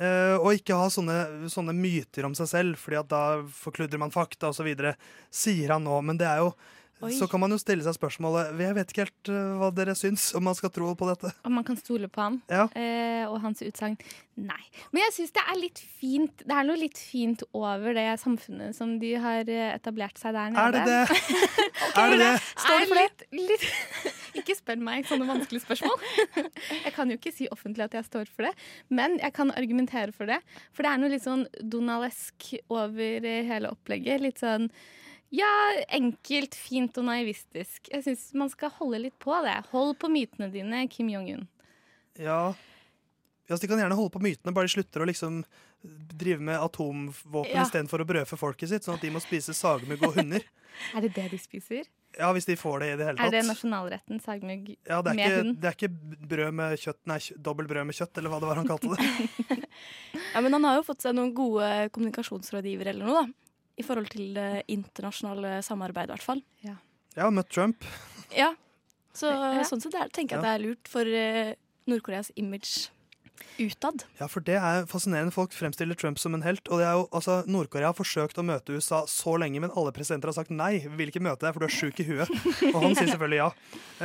S11: eh, og ikke ha sånne, sånne myter om seg selv, Fordi at da forkludrer man fakta osv. Sier han nå. Men det er jo
S4: Oi.
S11: så kan man jo stille seg spørsmålet Jeg vet ikke helt eh, hva dere syns, om man skal tro på dette.
S4: Om man kan stole på han
S11: Ja.
S4: eh, og hans utsagn. Nei. Men jeg syns det er litt fint Det er noe litt fint over det samfunnet som de har eh, etablert seg der nede.
S11: Er det det? er det det?
S4: Står du for det? Litt, ikke spør meg sånne vanskelige spørsmål. Jeg kan jo ikke si offentlig at jeg står for det, men jeg kan argumentere for det. For det er noe litt sånn donalesk over eh, hele opplegget. Litt sånn ja, enkelt, fint og naivistisk. Jeg syns man skal holde litt på det. Hold på mytene dine, Kim Jong-un.
S11: Ja. ja så de kan gjerne holde på mytene, bare de slutter å liksom drive med atomvåpen
S4: Ja.
S11: istedenfor å brødfø folket sitt, sånn at de må spise sagmugg og hunder.
S4: Er det det de spiser?
S11: Ja, hvis de får det i det hele tatt.
S4: Er det nasjonalretten sagmugg
S11: Ja, det er,
S4: med
S11: ikke,
S4: hund?
S11: det er ikke brød med kjøtt, nei, kjø- dobbelt brød med kjøtt, eller hva det var han kalte det.
S10: Ja, men han har jo fått seg noen gode kommunikasjonsrådgivere eller noe, da. I forhold til det internasjonale samarbeidet, i hvert fall.
S4: Ja.
S11: Jeg har møtt Trump.
S10: Så sånn sett er- tenker jeg at det er lurt for eh, Nord-Koreas image. Utad.
S11: Ja, for det er fascinerende. Folk fremstiller Trump som en helt. Og det er jo, altså, Nord-Korea har forsøkt å møte USA så lenge, men alle presidenter har sagt nei. Vi vil ikke møte deg, for du er sjuk i huet. Og han sier selvfølgelig ja.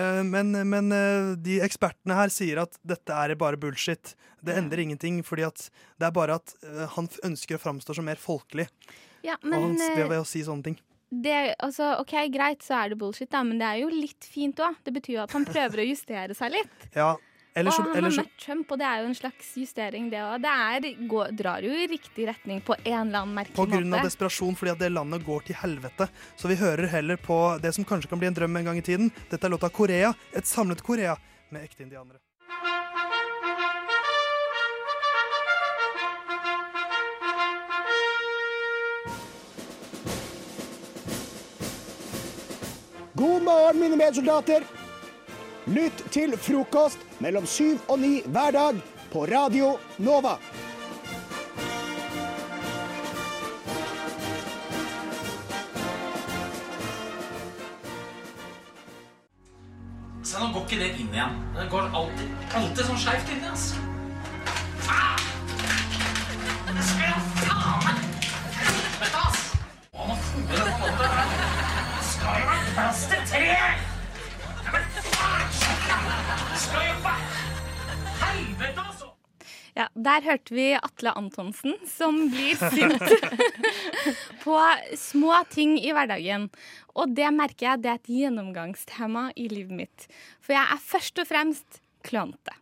S11: Eh, Men, men eh, de ekspertene her sier at dette er bare bullshit. Det endrer ingenting, fordi at det er bare at eh, han f- ønsker å framstå som mer folkelig.
S4: Ja,
S11: og han,
S4: men
S11: s- ved,
S4: eh,
S11: ved å si sånne ting.
S4: det, altså, OK, greit, så er det bullshit, da, men det er jo litt fint òg. Det betyr jo at han prøver å justere seg litt.
S11: Ja, ellers,
S4: og
S11: så-
S4: han
S11: ellers,
S4: har
S11: så-
S4: møtt Trump, og det er jo en slags justering, det òg. Det er, går, drar jo i riktig retning på en eller annen merkelig
S11: På
S4: måte.
S11: grunn av desperasjon fordi at det landet går til helvete. Så vi hører heller på det som kanskje kan bli en drøm en gang i tiden. Dette er låta 'Korea', et samlet Korea med ekte indianere.
S12: God morgen, mine medsoldater. Lytt til frokost mellom syv og ni hver dag på Radio Nova.
S14: Se, nå går ikke det inn igjen. Det går alltid, alltid sånn skeivt inni, altså. Ah! Det skal jeg faen meg Helvete, ass! Å, nå fòrer jeg på måte her. Det skal jo være plass til tre! Ja, men faen! Det skal jo være Helvete, altså!
S4: Ja, Der hørte vi Atle Antonsen, som blir sint på små ting i hverdagen. Og det merker jeg det er et gjennomgangstema i livet mitt. For jeg er først og fremst klønete.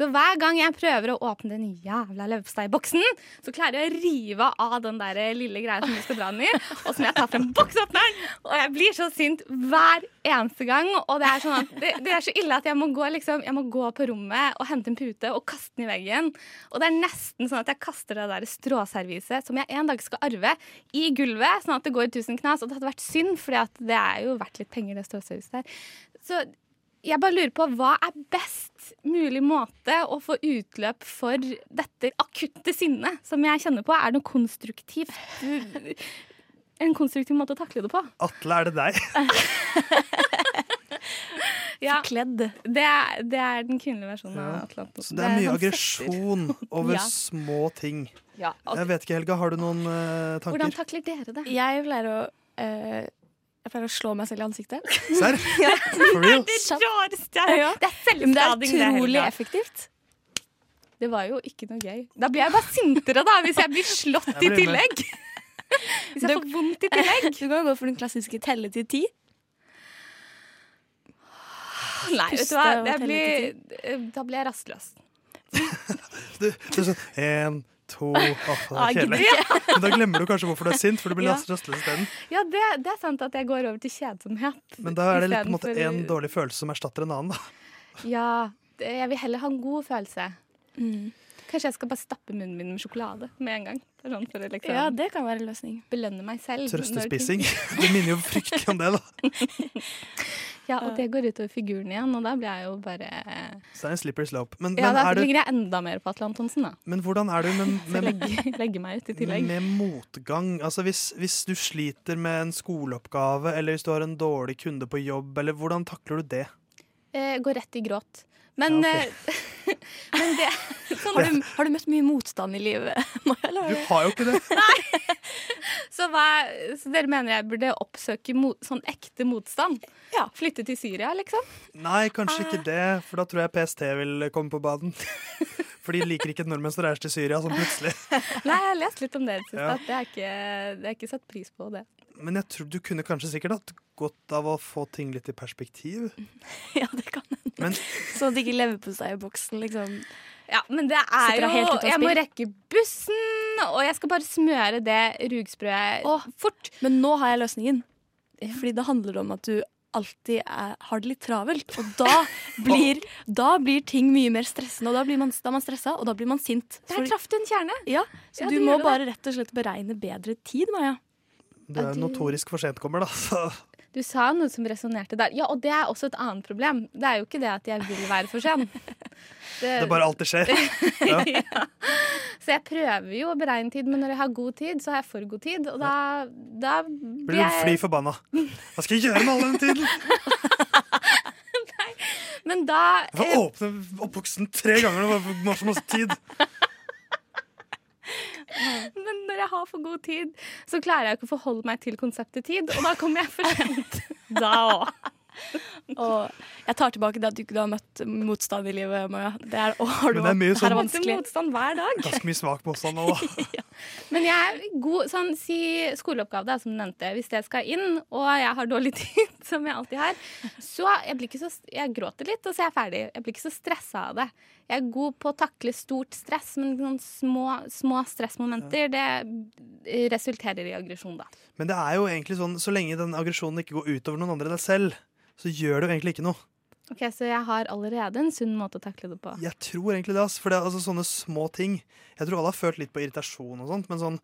S4: Så hver gang jeg prøver å åpne den jævla leverposteiboksen, så klarer jeg å rive av den der lille greia som du skal dra den i, og som jeg tar frem boksåpneren, og jeg blir så sint hver eneste gang. Og det er, sånn at det, det er så ille at jeg må, gå, liksom, jeg må gå på rommet og hente en pute og kaste den i veggen. Og det er nesten sånn at jeg kaster det der stråserviset som jeg en dag skal arve, i gulvet, sånn at det går i tusen knas. Og det hadde vært synd, for det er jo verdt litt penger, det stråserviset der. Så jeg bare lurer på hva er best mulig måte å få utløp for dette akutte sinnet som jeg kjenner på? Er det noe konstruktivt? En konstruktiv måte å takle det på?
S11: Atle, er det deg?
S4: Ja. Forkledd. Det er, det er den kvinnelige versjonen av Atlanten.
S11: Så det er mye aggresjon over
S4: Ja.
S11: små ting.
S4: Ja, og-
S11: Jeg vet ikke, Helga, har du noen eh, tanker?
S4: Hvordan takler dere det?
S10: Jeg pleier å eh, Jeg pleier å slå meg selv i ansiktet.
S11: Serr? For real?
S10: Det
S4: er det rareste
S10: jeg
S4: Det er
S10: Men det er
S4: selvskading, det,
S10: utrolig
S4: Helga.
S10: effektivt.
S4: Det var jo ikke noe gøy. Da blir jeg bare sintere, da, hvis jeg blir slått i
S10: Jeg blir med.
S4: tillegg. Hvis jeg får vondt i tillegg.
S10: Du kan gå for den klassiske telle til ti.
S4: Nei, vet du
S10: Puste
S4: hva?
S10: og
S4: Jeg
S10: telle
S4: blir, eh, da blir jeg rastløs.
S11: Du, du er sånn én, to Åh, det
S4: Ah,
S11: er
S4: gidder
S11: kjedelig.
S4: ikke.
S11: Men da glemmer du kanskje hvorfor du er sint, for du blir
S4: Ja.
S11: ja. rastløs isteden.
S4: Ja, det, det er sant at jeg går over til kjedsomhet.
S11: Men da er det litt, på en måte
S4: istedenfor-
S11: en dårlig følelse som erstatter en annen. Da.
S4: Ja, det- jeg vil heller ha en god følelse. Mm. Kanskje jeg skal bare stappe munnen min med sjokolade med en gang. Det er Sånn for å liksom,
S10: Ja, det kan være en løsning.
S4: Belønne meg selv.
S11: Trøstespising.
S4: når
S11: Det minner jo fryktelig om det, da.
S4: ting- Ja, og det går utover figuren igjen, og da blir jeg jo bare
S11: Så det er en slippery slope. Men,
S4: Ja,
S11: men,
S4: da
S11: er du,
S4: ligger jeg enda mer på Atle Antonsen, da.
S11: men hvordan er du med,
S4: Så
S11: med,
S4: legge, legge meg ut i tillegg.
S11: med motgang? Altså hvis, hvis du sliter med en skoleoppgave, eller hvis du har en dårlig kunde på jobb, eller hvordan takler du det?
S4: Eh, går rett i gråt. Men,
S11: Ja, ok.
S4: eh, men det sånn,
S10: Har du, har du møtt mye motstand i livet?
S11: Du har jo ikke det.
S4: Så, hva, så dere mener jeg burde oppsøke mo- sånn ekte motstand? Flytte til Syria, liksom?
S11: Nei, kanskje
S4: Ah.
S11: ikke det, for da tror jeg PST vil komme på baden. For de liker ikke nordmenn som reiser til Syria sånn plutselig.
S4: Nei, jeg har lest litt om det i det siste.
S11: Ja.
S4: At det er ikke, det er ikke satt pris på det.
S11: Men jeg tror du kunne kanskje sikkert hatt godt av å få ting litt i perspektiv.
S10: Sånn at ikke leverposteiboksen liksom
S4: Ja, men det
S10: Setter
S4: er
S10: deg
S4: jo
S10: helt ut av
S4: Jeg må
S10: spill.
S4: rekke bussen, og jeg skal bare smøre det rugsprøet fort.
S10: Men nå har jeg løsningen. Fordi det handler om at du alltid er, har det litt travelt. Og da blir, da blir ting mye mer stressende, og da blir man, da er man stressa, og da blir man sint.
S4: Der traff du en kjerne.
S10: Ja, så
S4: Ja,
S10: du
S4: det
S10: må
S4: gjør det.
S10: bare rett og slett beregne bedre tid, Maja.
S11: Du er jo notorisk for sent kommer, da. Så.
S4: Du sa noe som resonnerte der. Ja, og det er også et annet problem. Det er jo ikke det at jeg vil være for sen. Eh,
S11: Det bare alltid skjer. Ja.
S4: Ja. Så jeg prøver jo å beregne tid, men når jeg har god tid, så har jeg for god tid. Og da, da blir
S11: Blir du fly
S4: jeg
S11: forbanna. Hva skal jeg gjøre med all den tiden?
S10: Men da
S11: Jeg får åpne oppboksen tre ganger nå for masse, masse tid.
S10: Men når jeg har for god tid, så klarer jeg ikke å forholde meg til konseptet tid, og da kommer jeg for sent. da òg. Og jeg tar tilbake det at du ikke har møtt motstand i livet, Maja. Det er, å, har du,
S11: Men det er mye
S10: her er
S11: sånn-
S10: vanskelig. motstand hver dag.
S11: Ganske mye svak påstand nå, da.
S4: Men jeg er god sånn, Si skoleoppgave, da, som du nevnte. Hvis det skal inn, og jeg har dårlig tid, som jeg alltid har, så jeg, blir ikke så jeg gråter litt, og så er jeg ferdig. Jeg blir ikke så stressa av det. Jeg er god på å takle stort stress, men noen små, små stressmomenter, det resulterer i aggresjon, da.
S11: Men det er jo egentlig sånn, så lenge den aggresjonen ikke går utover noen andre enn deg selv, så gjør det jo egentlig ikke noe.
S4: Ok, Så jeg har allerede en sunn måte å takle det på.
S11: Jeg tror egentlig det, ass, for det er altså sånne små ting. Jeg tror alle har følt litt på irritasjon og sånt, men sånn,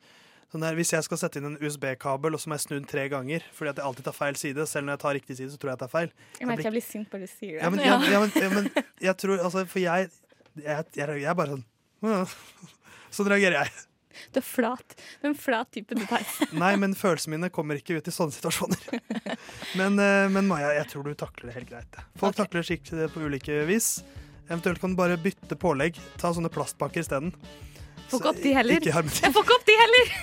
S11: sånn der, hvis jeg skal sette inn en USB-kabel, og så må jeg snu den tre ganger, fordi at jeg alltid tar feil side, selv når jeg tar riktig side, så tror jeg at det er feil.
S4: Jeg merker jeg blir sint bare du sier det.
S11: Ja, men, ja, ja, men, ja, men jeg tror, altså, for jeg, jeg, jeg, jeg er bare sånn, «Åh». sånn reagerer jeg.
S4: Du er flat. Du er en flat type, du, Theis.
S11: Nei, men følelsene mine kommer ikke ut i sånne situasjoner. Men, eh, men Maja, jeg tror du takler det helt greit. jeg. Folk takler sikkert det på ulike vis. Eventuelt kan du bare bytte pålegg. Ta sånne plastpakker isteden.
S4: Får ikke opp de heller.
S11: Ikke hermetikk.
S4: Jeg får ikke opp de heller!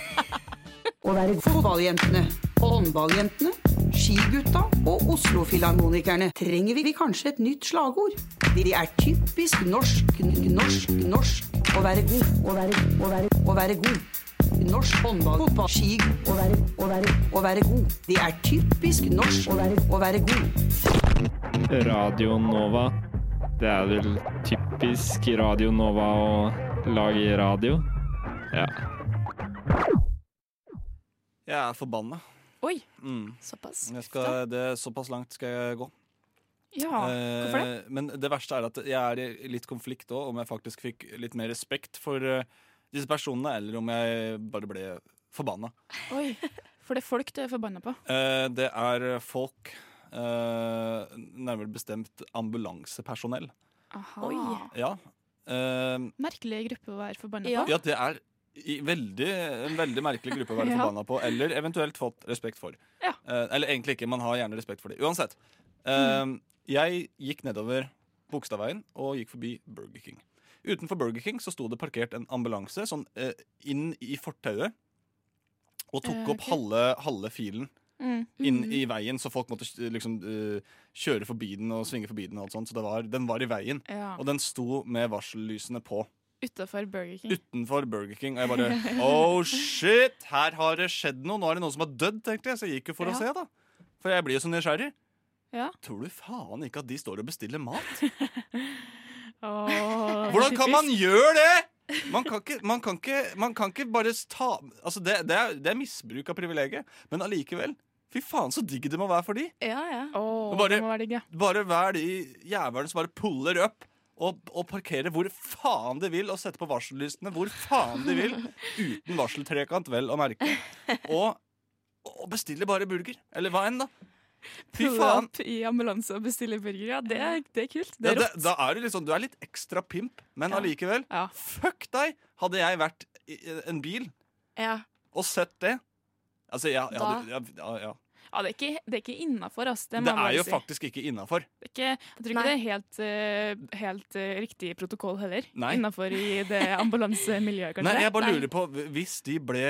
S15: Å være fotballjentene, håndballjentene, skigutta og Oslo-filharmonikerne trenger vi kanskje et nytt slagord. De er typisk norsk, norsk, norsk. Å være god, å være, å være, å være god. Norsk håndball, fotball, ski. Å være, å være, å være god. De er typisk norsk å være, å være god.
S2: Radio Nova. Det er vel typisk Radio Nova å lage radio. Ja.
S16: Jeg er forbanna.
S10: Oi.
S16: Mm.
S10: Såpass.
S16: Jeg skal, det, såpass langt skal jeg gå.
S10: Ja,
S16: Eh,
S10: hvorfor det?
S16: Men det verste er at jeg er i litt konflikt òg, om jeg faktisk fikk litt mer respekt for eh, disse personene, eller om jeg bare ble forbanna.
S17: Oi. For det er folk du er forbanna på.
S16: Eh, det er folk, eh, nærmere bestemt ambulansepersonell.
S17: Aha.
S10: Ah.
S16: Ja. Eh,
S17: Merkelig gruppe å være forbanna
S16: ja.
S17: på.
S16: det er i veldig, en veldig merkelig gruppe å være
S17: Ja.
S16: forbanna på, eller eventuelt fått respekt for. Eh, eller egentlig ikke, man har gjerne respekt for det. Uansett. Eh,
S17: Mm.
S16: Jeg gikk nedover Bogstadveien og gikk forbi Burger King. Utenfor Burger King så sto det parkert en ambulanse sånn eh, inn i fortauet og tok
S17: Eh,
S16: opp
S17: ok.
S16: halve, halve filen.
S17: Mm.
S16: Inn i veien, så folk måtte eh, liksom eh, kjøre forbi den og svinge forbi den. og alt sånt Så det var, den var i veien.
S17: Ja.
S16: Og den sto med varsellysene på
S17: Utafor Burger King.
S16: utenfor Burger King. Og jeg bare Oh shit! Her har det skjedd noe. Nå er det noen som har dødd, tenkte jeg. Så jeg gikk jo
S17: Ja.
S16: for å se, da. For jeg blir jo så nysgjerrig.
S17: Ja.
S16: Tror du faen ikke at de står og bestiller mat?
S17: Åh,
S16: Hvordan kan man
S17: typisk.
S16: gjøre det?! Man kan ikke, man kan ikke, man kan ikke bare ta Altså, det, det, er, det er misbruk av privilegiet. Men allikevel. Fy faen, så digg det må være for de.
S17: Ja, ja. Åh,
S16: Og bare-
S17: det må være digg, ja.
S16: Bare vær de jævlene som bare puller opp og, og parkerer hvor faen de vil, og setter på varsellysene hvor faen de vil, uten varseltrekant, vel å merke. Og, og bestiller bare burger. Eller hva enn, da. Fy
S17: Pulle
S16: faen.
S17: opp i ambulanse og bestille burger. Ja, det er, det er kult. Det
S16: Ja,
S17: er
S16: det,
S17: rått.
S16: da er du litt sånn, du er litt ekstra pimp, men allikevel. Fuck deg! Hadde jeg vært i, i en bil
S17: Ja.
S16: og sett det Altså, jeg, jeg
S17: Da-
S16: hadde ja, ja, ja.
S17: Ja, det er ikke, det er ikke innafor, ass. Det,
S16: Det,
S17: må jeg
S16: er
S17: bare
S16: jo
S17: si.
S16: faktisk ikke innafor.
S17: Det er ikke, jeg tror ikke det er helt, eh, helt eh, riktig protokoll heller.
S16: Nei.
S17: Innafor i det ambulansemiljøet, kanskje.
S16: Nei, jeg bare lurer på Hvis de ble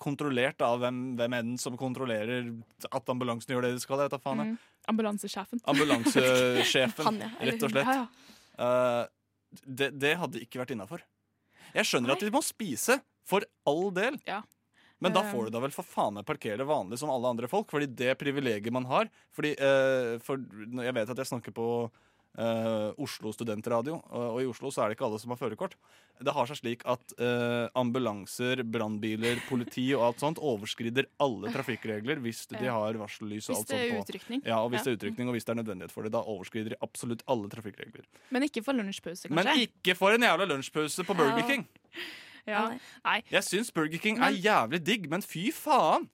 S16: kontrollert av hvem, hvem enn som kontrollerer at ambulansen gjør det de skal, jeg vet da faen. jeg.
S17: Mm. Ambulansesjefen.
S16: Ambulansesjefen,
S17: Han, ja, eller
S16: rett og
S17: hun.
S16: slett.
S17: Ja, ja.
S16: Eh, det, det hadde ikke vært innafor. Jeg skjønner at de må spise, for all del. Men da
S17: Eh.
S16: får du da vel for faen meg parkere vanlig som alle andre folk. Fordi det privilegiet man har Fordi eh, for, når Jeg vet at jeg snakker på eh, Oslo studentradio, og, og i Oslo så er det ikke alle som har førerkort. Det har seg slik at eh, ambulanser, brannbiler, politi og alt sånt overskrider alle trafikkregler hvis de
S17: Ja.
S16: har varsellys
S17: Hvis
S16: og alt
S17: det
S16: sånt
S17: er
S16: på.
S17: utrykning.
S16: Ja, og hvis
S17: Ja.
S16: det er utrykning, og hvis det er nødvendighet for det. Da overskrider de absolutt alle trafikkregler.
S17: Men ikke for lunsjpause, kanskje.
S16: Men ikke for en jævla lunsjpause på Burger
S17: Ja.
S16: King!
S17: Ja. Nei.
S16: Jeg syns Burger King
S17: Men-
S16: er jævlig digg, men fy faen!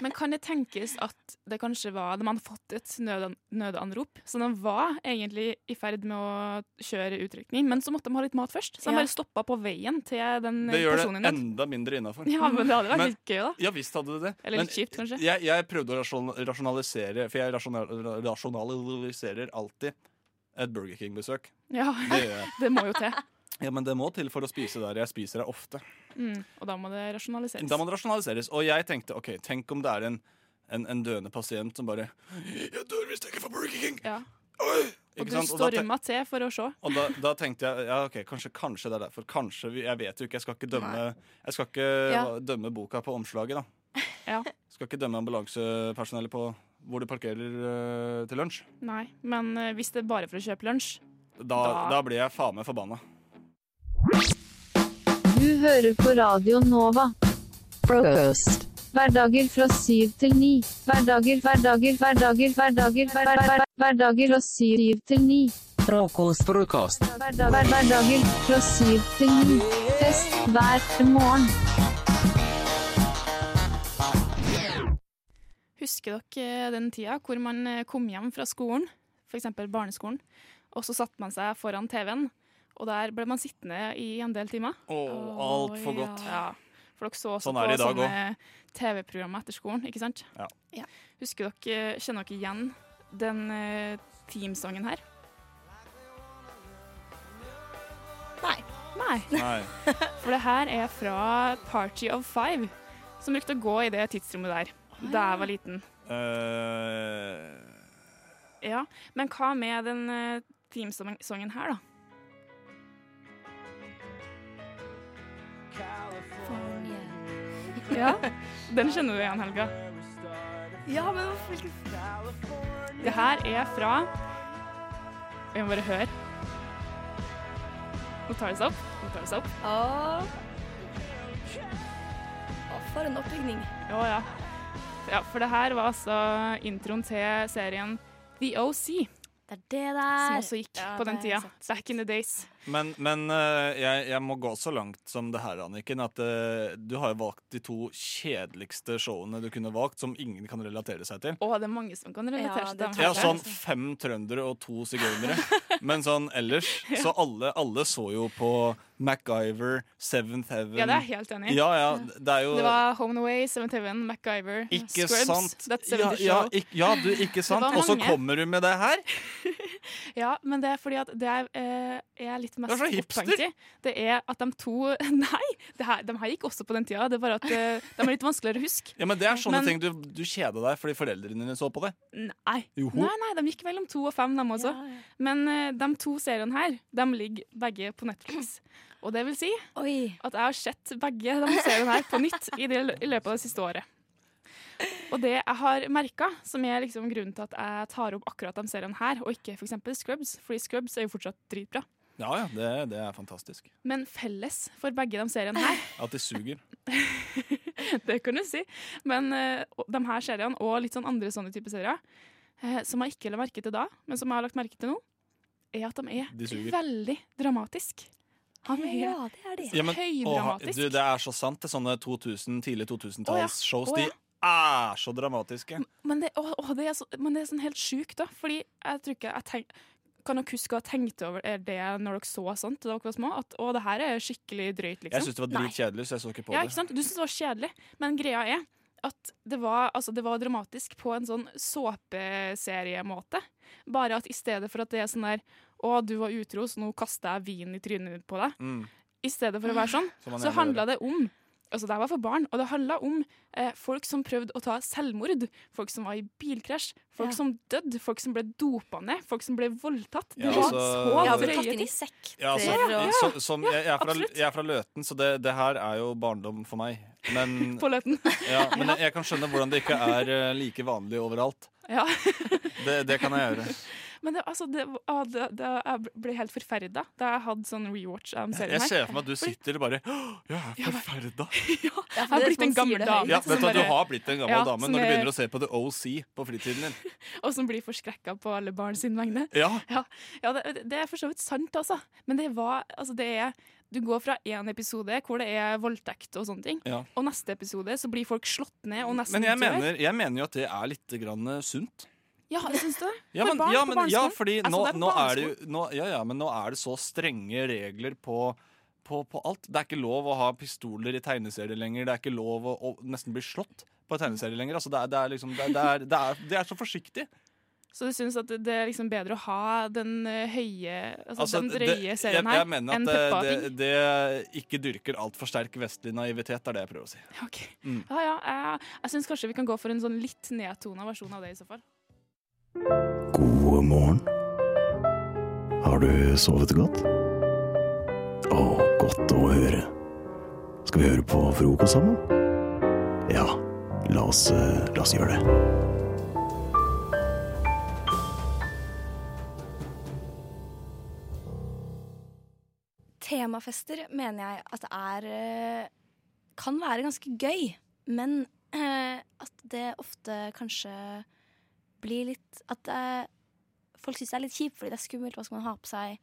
S17: Men kan det tenkes at det kanskje var De hadde fått et nødan, nødanrop, så de var egentlig i ferd med å kjøre utrykning, men så måtte de ha litt mat først. Så de
S16: Ja.
S17: bare stoppa på veien til den
S16: Det gjør
S17: personen.
S16: det enda mindre innafor.
S17: Ja, men det hadde vært litt gøy, da.
S16: Ja, visst hadde det det.
S17: Eller litt kjipt, kanskje.
S16: Jeg, jeg prøvde å rasjon- rasjonalisere, for jeg rasjonal- rasjonaliserer alltid et Burger King-besøk.
S17: Ja,
S16: Det gjør jeg.
S17: det må jo til.
S16: Ja, men det må til for å spise der jeg spiser der ofte.
S17: Mm, og da må det rasjonaliseres.
S16: Da må det rasjonaliseres. Og jeg tenkte ok, tenk om det er en, en, en døende pasient som bare Jeg dør hvis jeg ikke får Burger King!
S17: Ja.
S16: Ikke
S17: Og du
S16: sant? Og da te-
S17: storma til for å se.
S16: Og da, da tenkte jeg ja, ok, kanskje, kanskje det er derfor. Kanskje, vi- Jeg vet jo ikke. Jeg skal ikke dømme, jeg skal ikke
S17: Ja.
S16: dømme boka på omslaget, da.
S17: Ja.
S16: Skal ikke dømme ambulansepersonellet på hvor de parkerer eh, til lunsj.
S17: Nei, men eh, hvis det er bare for å kjøpe lunsj
S16: Da, da.
S17: Da-
S16: blir jeg faen meg forbanna.
S18: Du hører på Radio Nova. Frokost. Hverdager fra syv til ni. Hverdager, hverdager, hverdager, hverdager, hver- hver- hver- hverdager fra syv til ni.
S19: Frokost, frokost.
S18: Hverdager, hverdager fra syv til ni. Fest hver morgen.
S17: Husker dere den tida hvor man eh, kom hjem fra skolen, f.eks. barneskolen, og så satte man seg foran TV-en, og der ble man sittende i en del timer?
S16: Åh, altfor godt.
S17: Ja. For dere så også
S16: Sånn er
S17: på
S16: det i dag
S17: sånne TV-programmer etter skolen, ikke sant?
S16: Ja.
S17: Husker dere, eh, kjenner dere igjen den eh, teamsangen her? Nei. Nei.
S16: Nei.
S17: For det her er fra Party of Five, som brukte å gå i det tidsrommet der, da jeg var liten.
S16: Eh,
S17: Ja, men hva med den eh, teamsongen her, da? Ja, den kjenner du igjen, Helga.
S10: Ja, men hvilken
S17: Det her er fra Vi må bare høre. Nå tar det seg opp. Nå tar det seg opp.
S10: Å, For en oppbygning.
S17: Ja, ja. ja, for det her var altså introen til serien The OC.
S10: Det er det der.
S17: Som også gikk
S10: Ja,
S17: på den
S10: det er
S17: tida. Back in the days.
S16: Men, men eh, jeg, jeg må gå så langt som det her, Anniken, at eh, du har jo valgt de to kjedeligste showene du kunne valgt, som ingen kan relatere seg til.
S17: Å, det er mange som kan relatere
S10: Ja,
S17: seg
S10: det
S17: til den
S16: Ja,
S17: her.
S16: sånn fem trøndere og to sigøynere. Men sånn ellers Så alle, alle så jo på MacGyver, Seventh Heaven
S17: Ja, det er jeg helt enig i.
S16: Ja, ja, det er jo
S17: Det var Home and Away, Seventh Heaven, MacGyver,
S16: Ikke
S17: Scrubs.
S16: sant?
S17: That's
S16: Ja,
S17: 70
S16: ja,
S17: Show.
S16: ikk- ja, du, ikke sant?
S17: var
S16: Og så
S17: mange.
S16: kommer du med det her?
S17: Ja, men det er fordi at det er, eh, jeg er litt mest
S16: Det er så hipster.
S17: opphengt i. Det er at de to Nei, det her, de her gikk også på den tida. Det er bare at eh, de er litt vanskeligere å huske.
S16: Ja, men Det er sånne
S17: Men-
S16: ting du, du kjeder deg fordi foreldrene dine så på det.
S17: Nei.
S16: Joho.
S17: nei, nei, de gikk mellom to og fem, de også. Men eh, de to seriene her, de ligger begge på Netflix. Og det vil si at jeg har sett begge de seriene her på nytt i, det, i løpet av det siste året. Og det jeg har merka, som er liksom grunnen til at jeg tar opp akkurat de seriene her, og ikke f.eks. Scrubs, fordi Scrubs er jo fortsatt dritbra.
S16: Ja ja, det, det er fantastisk.
S17: Men felles for begge de seriene her
S16: At de suger.
S17: Det kan du si. Men eh, og de her seriene, og litt sånn andre sånne type serier, eh, som jeg ikke la merke til da, men som jeg har lagt merke til nå, er at de er
S16: De suger.
S17: veldig dramatiske.
S10: Ja,
S17: det er
S16: Ja, men- Åh,
S17: Høydramatisk.
S16: du, det er så sant. Det er sånne 2000, tidlig 2000-tallsshows.
S17: Å, ja. Å, ja.
S16: De er så dramatiske.
S17: Men, det, åh, åh, det er så, men det er sånn helt sjukt, da. Fordi jeg tror ikke jeg tenk, Kan dere huske å ha tenkt over det når dere så sånt da dere var små? At å, det her er skikkelig drøyt, liksom.
S16: Jeg syntes det var
S17: Nei.
S16: dritkjedelig, så jeg så ikke på
S17: ja,
S16: det.
S17: ikke sant? Du syns det var kjedelig, men greia er at det var, altså, det var dramatisk på en sånn såpeseriemåte. Bare at i stedet for at det er sånn der Å, du var utro, så nå kaster jeg vin i trynet på deg.
S16: Mm.
S17: I stedet for å være sånn,
S16: Som man
S17: så
S16: gjerne
S17: handla det om Altså, det her var for barn, og det handla om eh, folk som prøvde å ta selvmord. Folk som var i bilkrasj, folk
S10: Ja.
S17: som døde, folk som ble dopa ned, folk som ble voldtatt. Det
S16: Ja,
S17: var
S16: altså-
S17: så
S16: Ja,
S17: drøye
S16: tatt
S10: inn i
S17: ting.
S16: Ja, altså,
S17: Ja, ja.
S16: så, som, jeg, jeg, er fra,
S17: absolutt.
S16: jeg er fra Løten, så det, det her er jo barndom for meg. Men,
S17: På Løten.
S16: ja, men jeg, jeg kan skjønne hvordan det ikke er eh, like vanlig overalt.
S17: Ja.
S16: Det, det kan jeg gjøre.
S17: Men det, altså, det, ah, det, det, jeg ble helt forferda da jeg hadde sånn rewatch av serien
S16: Jeg
S17: her.
S16: ser for meg at du
S17: Fordi
S16: sitter og bare «Åh, Jeg er forferda.
S17: Jeg har blitt en gammel dame. liksom,
S16: Ja, vet du,
S17: som
S16: hva, du
S17: bare-
S16: har blitt en
S17: Ja,
S16: gammel dame
S17: som
S16: når du
S17: er-
S16: begynner å se på The OC på fritiden din.
S17: Og som blir forskrekka på alle barn sine vegne.
S16: Ja.
S17: Ja, ja det, det er for så vidt sant, altså. Men det var Altså, det er Du går fra én episode hvor det er voldtekt og sånne ting,
S16: Ja.
S17: og neste episode så blir folk slått ned og nesten
S16: Men jeg
S17: dør.
S16: mener, jeg mener jo at det er litt grann eh, sunt.
S17: Ja, syns du det?
S16: Ja,
S17: For
S16: men,
S17: barn
S16: ja,
S17: på
S16: men, ja,
S17: barneskolen?
S16: fordi
S17: Altså,
S16: nå,
S17: det er på
S16: nå, er det jo,
S17: barneskolen.
S16: nå, ja, ja, men nå er det så strenge regler på, på, på alt. Det er ikke lov å ha pistoler i tegneserier lenger. Det er ikke lov å, å nesten bli slått på tegneserier lenger. Altså, det, er, det, er liksom, det, er- det, er, det, er, det er så forsiktig.
S17: Så du syns at det det er liksom bedre å ha den eh, høye altså,
S16: Altså,
S17: den
S16: det-
S17: drøye serien
S16: jeg,
S17: her
S16: jeg mener
S17: enn
S16: at eh,
S17: Peppa
S16: det,
S17: Pig?
S16: det, det ikke dyrker altfor sterk vestlig naivitet, er det jeg prøver å si. Mm.
S17: Ja, ja, jeg, jeg syns kanskje vi kan gå for en sånn litt nedtona versjon av det i så fall.
S20: God morgen. Har du sovet godt? Å, godt å høre. Skal vi høre på frokost sammen? Ja, la oss, eh, la oss gjøre det.
S10: Temafester mener jeg at det er eh, kan være ganske gøy, men eh, at det ofte kanskje blir litt At eh, folk syns det er litt kjipt fordi det er skummelt, hva skal man ha på seg?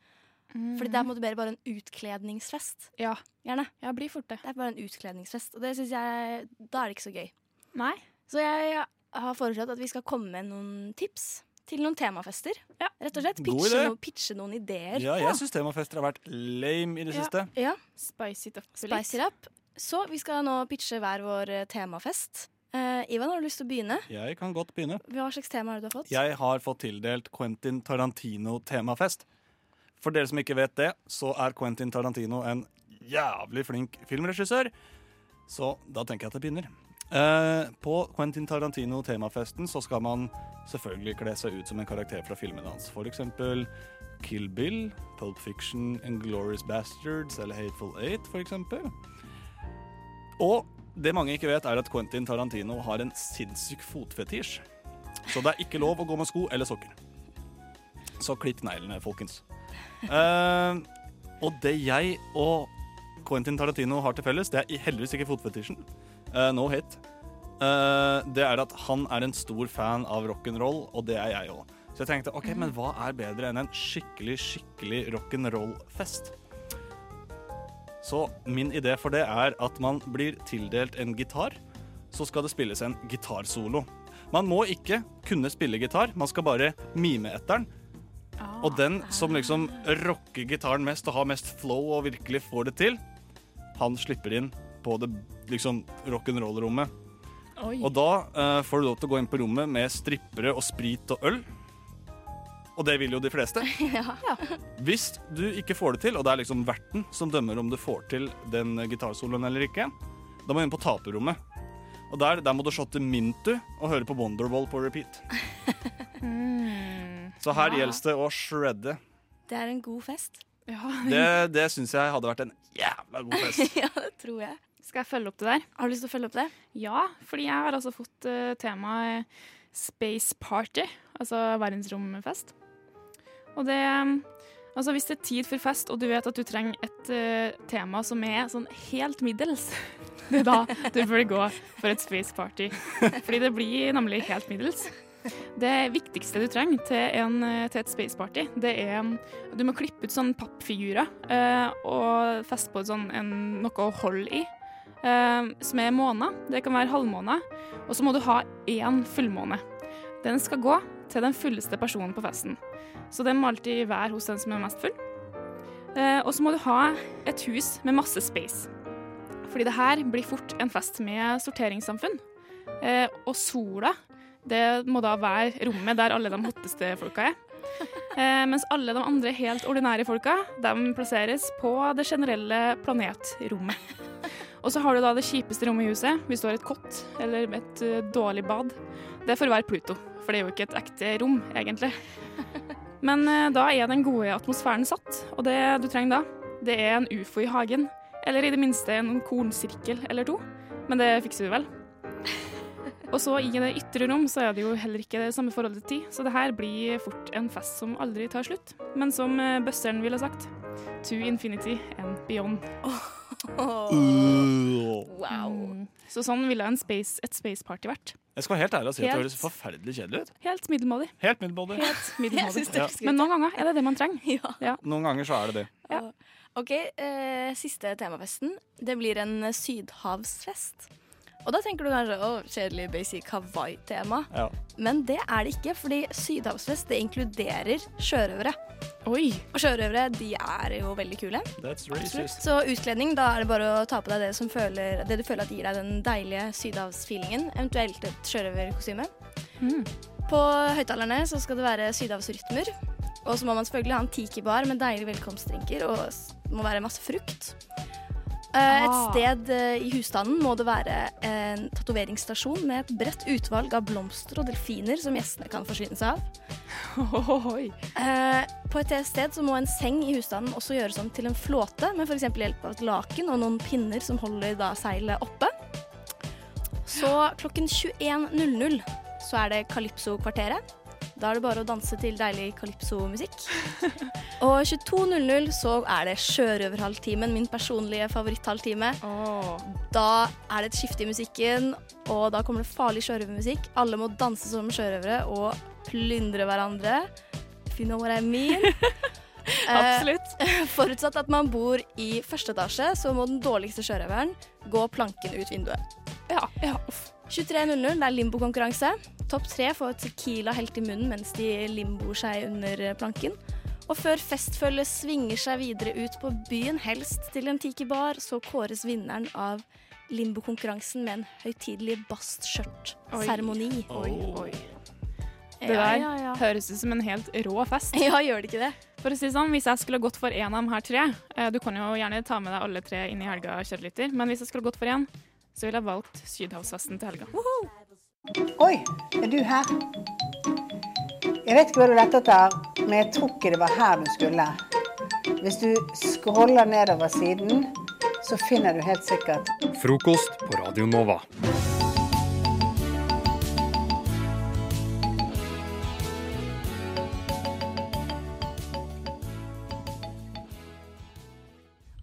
S10: Fordi det er på en måte mer bare en utkledningsfest.
S17: Mm. Ja.
S10: Gjerne.
S17: Ja, blir fort det.
S10: Det er bare en utkledningsfest, og det synes jeg Da er det ikke så gøy.
S17: Nei.
S10: Så jeg har foreslått at vi skal komme med noen tips til noen temafester. Rett og slett.
S16: God
S10: Pitche,
S16: idé.
S10: no, pitche noen ideer.
S16: Ja,
S10: Ja.
S16: jeg syns temafester har vært lame i det siste.
S10: Ja.
S17: Spice it up
S10: Spice it up. Så vi skal nå pitche hver vår eh, temafest. Eh, Ivan, har du lyst til å begynne?
S16: Jeg kan godt begynne.
S10: Hva slags tema har du fått?
S16: Jeg har fått tildelt Quentin Tarantino-temafest. For dere som ikke vet det, så er Quentin Tarantino en jævlig flink filmregissør. Så da tenker jeg at det begynner. Eh, på Quentin Tarantino-temafesten så skal man selvfølgelig kle seg ut som en karakter fra filmene hans. For eksempel Kill Bill, Pulp Fiction, Inglourious Bastards eller Hateful Eight, for eksempel. Og det mange ikke vet, er at Quentin Tarantino har en sinnssyk fotfetisj. Så det er ikke lov å gå med sko eller sokker. Så klipp neglene, folkens. Eh, og det jeg og Quentin Tarantino har til felles, det er heldigvis ikke fotfetisjen. Eh, no hate. Eh, det er at han er en stor fan av rock'n'roll, og det er jeg òg. Så jeg tenkte ok, men hva er bedre enn en skikkelig, skikkelig rock'n'roll-fest? Så min idé for det er at man blir tildelt en gitar, så skal det spilles en gitarsolo. Man må ikke kunne spille gitar, man skal bare mime etter den. Og den som liksom rocker gitaren mest og har mest flow og virkelig får det til, han slipper inn på det liksom rock'n'roll-rommet.
S10: Mm.
S17: Oi.
S16: Og da eh, får du lov til å gå inn på rommet med strippere og sprit og øl. Og det vil jo de fleste. Hvis du ikke får det til, og det er liksom verten som dømmer om du får til den gitarsoloen eller ikke, da må du inn på taperrommet. Og der, der må du shotte Mintu og høre på Wonderwall på repeat. Så her
S10: Ja.
S16: gjelder det å shredde.
S10: Det er en god fest.
S17: Ja,
S16: Det, det syns jeg hadde vært en jævla god fest.
S10: det tror jeg.
S17: Skal jeg følge opp det der?
S10: Har du lyst til å følge opp det?
S17: Ja, fordi jeg har altså fått eh, temaet Space Party, altså verdensromfest. Og det eh, Altså, hvis det er tid for fest, og du vet at du trenger et eh, tema som er sånn helt middels, det er da du bør gå for et space party. Fordi det blir nemlig helt middels. Det viktigste du trenger til, en, til et space party, det er um, Du må klippe ut sånne pappfigurer eh, og feste på sånn en, noe å holde i. eh, som er måneder. Det kan være halvmåned. Og så må du ha én fullmåne. Den skal gå til den fulleste personen på festen. Så den må alltid være hos den som er mest full. Eh, og så må du ha et hus med masse space. Fordi det her blir fort en fest med sorteringssamfunn. Eh, og sola, det må da være rommet der alle de hotteste folka er. Eh, mens alle de andre helt ordinære folka, de plasseres på det generelle planetrommet. Og så har du da det kjipeste rommet i huset, hvis du har et kott eller et eh, dårlig bad. Det får være Pluto, for det er jo ikke et ekte rom, egentlig. Men eh, da er den gode atmosfæren satt, og det du trenger da, det er en ufo i hagen. Eller i det minste en kornsirkel eller to. Men det fikser vi vel. Og så i det ytre rom så er det jo heller ikke det samme forholdet til tid, så det her blir fort en fest som aldri tar slutt. Men som eh, Bøsseren ville sagt, to infinity and beyond. Wow. Så sånn ville en space, et space party vært.
S16: Jeg skal være helt ærlig og si at det
S17: Helt.
S16: høres forferdelig kjedelig ut.
S17: Helt middelmådig.
S16: Helt middelmådig.
S17: Helt
S10: Jeg synes
S17: middelmådig.
S10: det høres gøy ut.
S17: Men noen ganger er det det man trenger. Ja.
S16: Noen ganger så er det det.
S10: Ja. OK, eh, siste temafesten. Det blir en eh, sydhavsfest. Og da tenker du kanskje å, kjedelig basic Hawaii-tema.
S16: Ja.
S10: Men det er det ikke, fordi sydhavsfest det inkluderer sjørøvere.
S17: Oi.
S10: Og sjørøvere de er jo veldig kule.
S16: That's
S10: Absolutt.
S16: racist.
S10: Så utkledning, da er det bare å ta på deg det, som føler, det du føler at gir deg den deilige sydhavsfeelingen. Eventuelt et sjørøverkostyme. På høyttalerne så skal det være sydhavsrytmer. Og så må man selvfølgelig ha en tiki-bar med deilige velkomstdrinker og s- må være masse frukt. Eh, Et
S21: Ah.
S10: sted eh, i husstanden må det være en tatoveringsstasjon med et bredt utvalg av blomster og delfiner som gjestene kan forsyne seg av. Eh, På et sted så må en seng i husstanden også gjøres om til en flåte med f.eks. hjelp av et laken og noen pinner som holder da seilet oppe. Så klokken 21.00 så er det Calypso-kvarteret. Da er det bare å danse til deilig calypso-musikk. Og 22.00 så er det sjørøverhalvtimen, min personlige favoritthalvtime. Da er det et skifte i musikken, og da kommer det farlig sjørøvermusikk. Alle må danse som sjørøvere og plyndre hverandre. If you know what I mean.
S17: Absolutt.
S10: Eh, Forutsatt at man bor i første etasje, så må den dårligste sjørøveren gå planken ut vinduet. Ja, ja. 23.00, det er limbokonkurranse. Topp tre får Tequila helt i munnen mens de limboer seg under planken. Og før festfølget svinger seg videre ut på byen, helst til en tiki-bar, så kåres vinneren av limbokonkurransen med en høytidelig bastskjørt-seremoni.
S17: Oi, oi. Det
S10: Ja,
S17: der
S10: ja, ja.
S17: høres ut som en helt rå fest.
S10: Ja, gjør det ikke det?
S17: For å si det sånn, Hvis jeg skulle gått for én av de her tre eh, Du kan jo gjerne ta med deg alle tre inn i helga, kjørelytter, men hvis jeg skulle gått for én, så ville jeg valgt Sydhavsfesten til helga.
S13: Oi, er du her? Jeg vet ikke hva du lette etter, men jeg tror ikke det var her du skulle. Hvis du scroller nedover siden, så finner du helt sikkert
S1: Frokost på Radio Nova.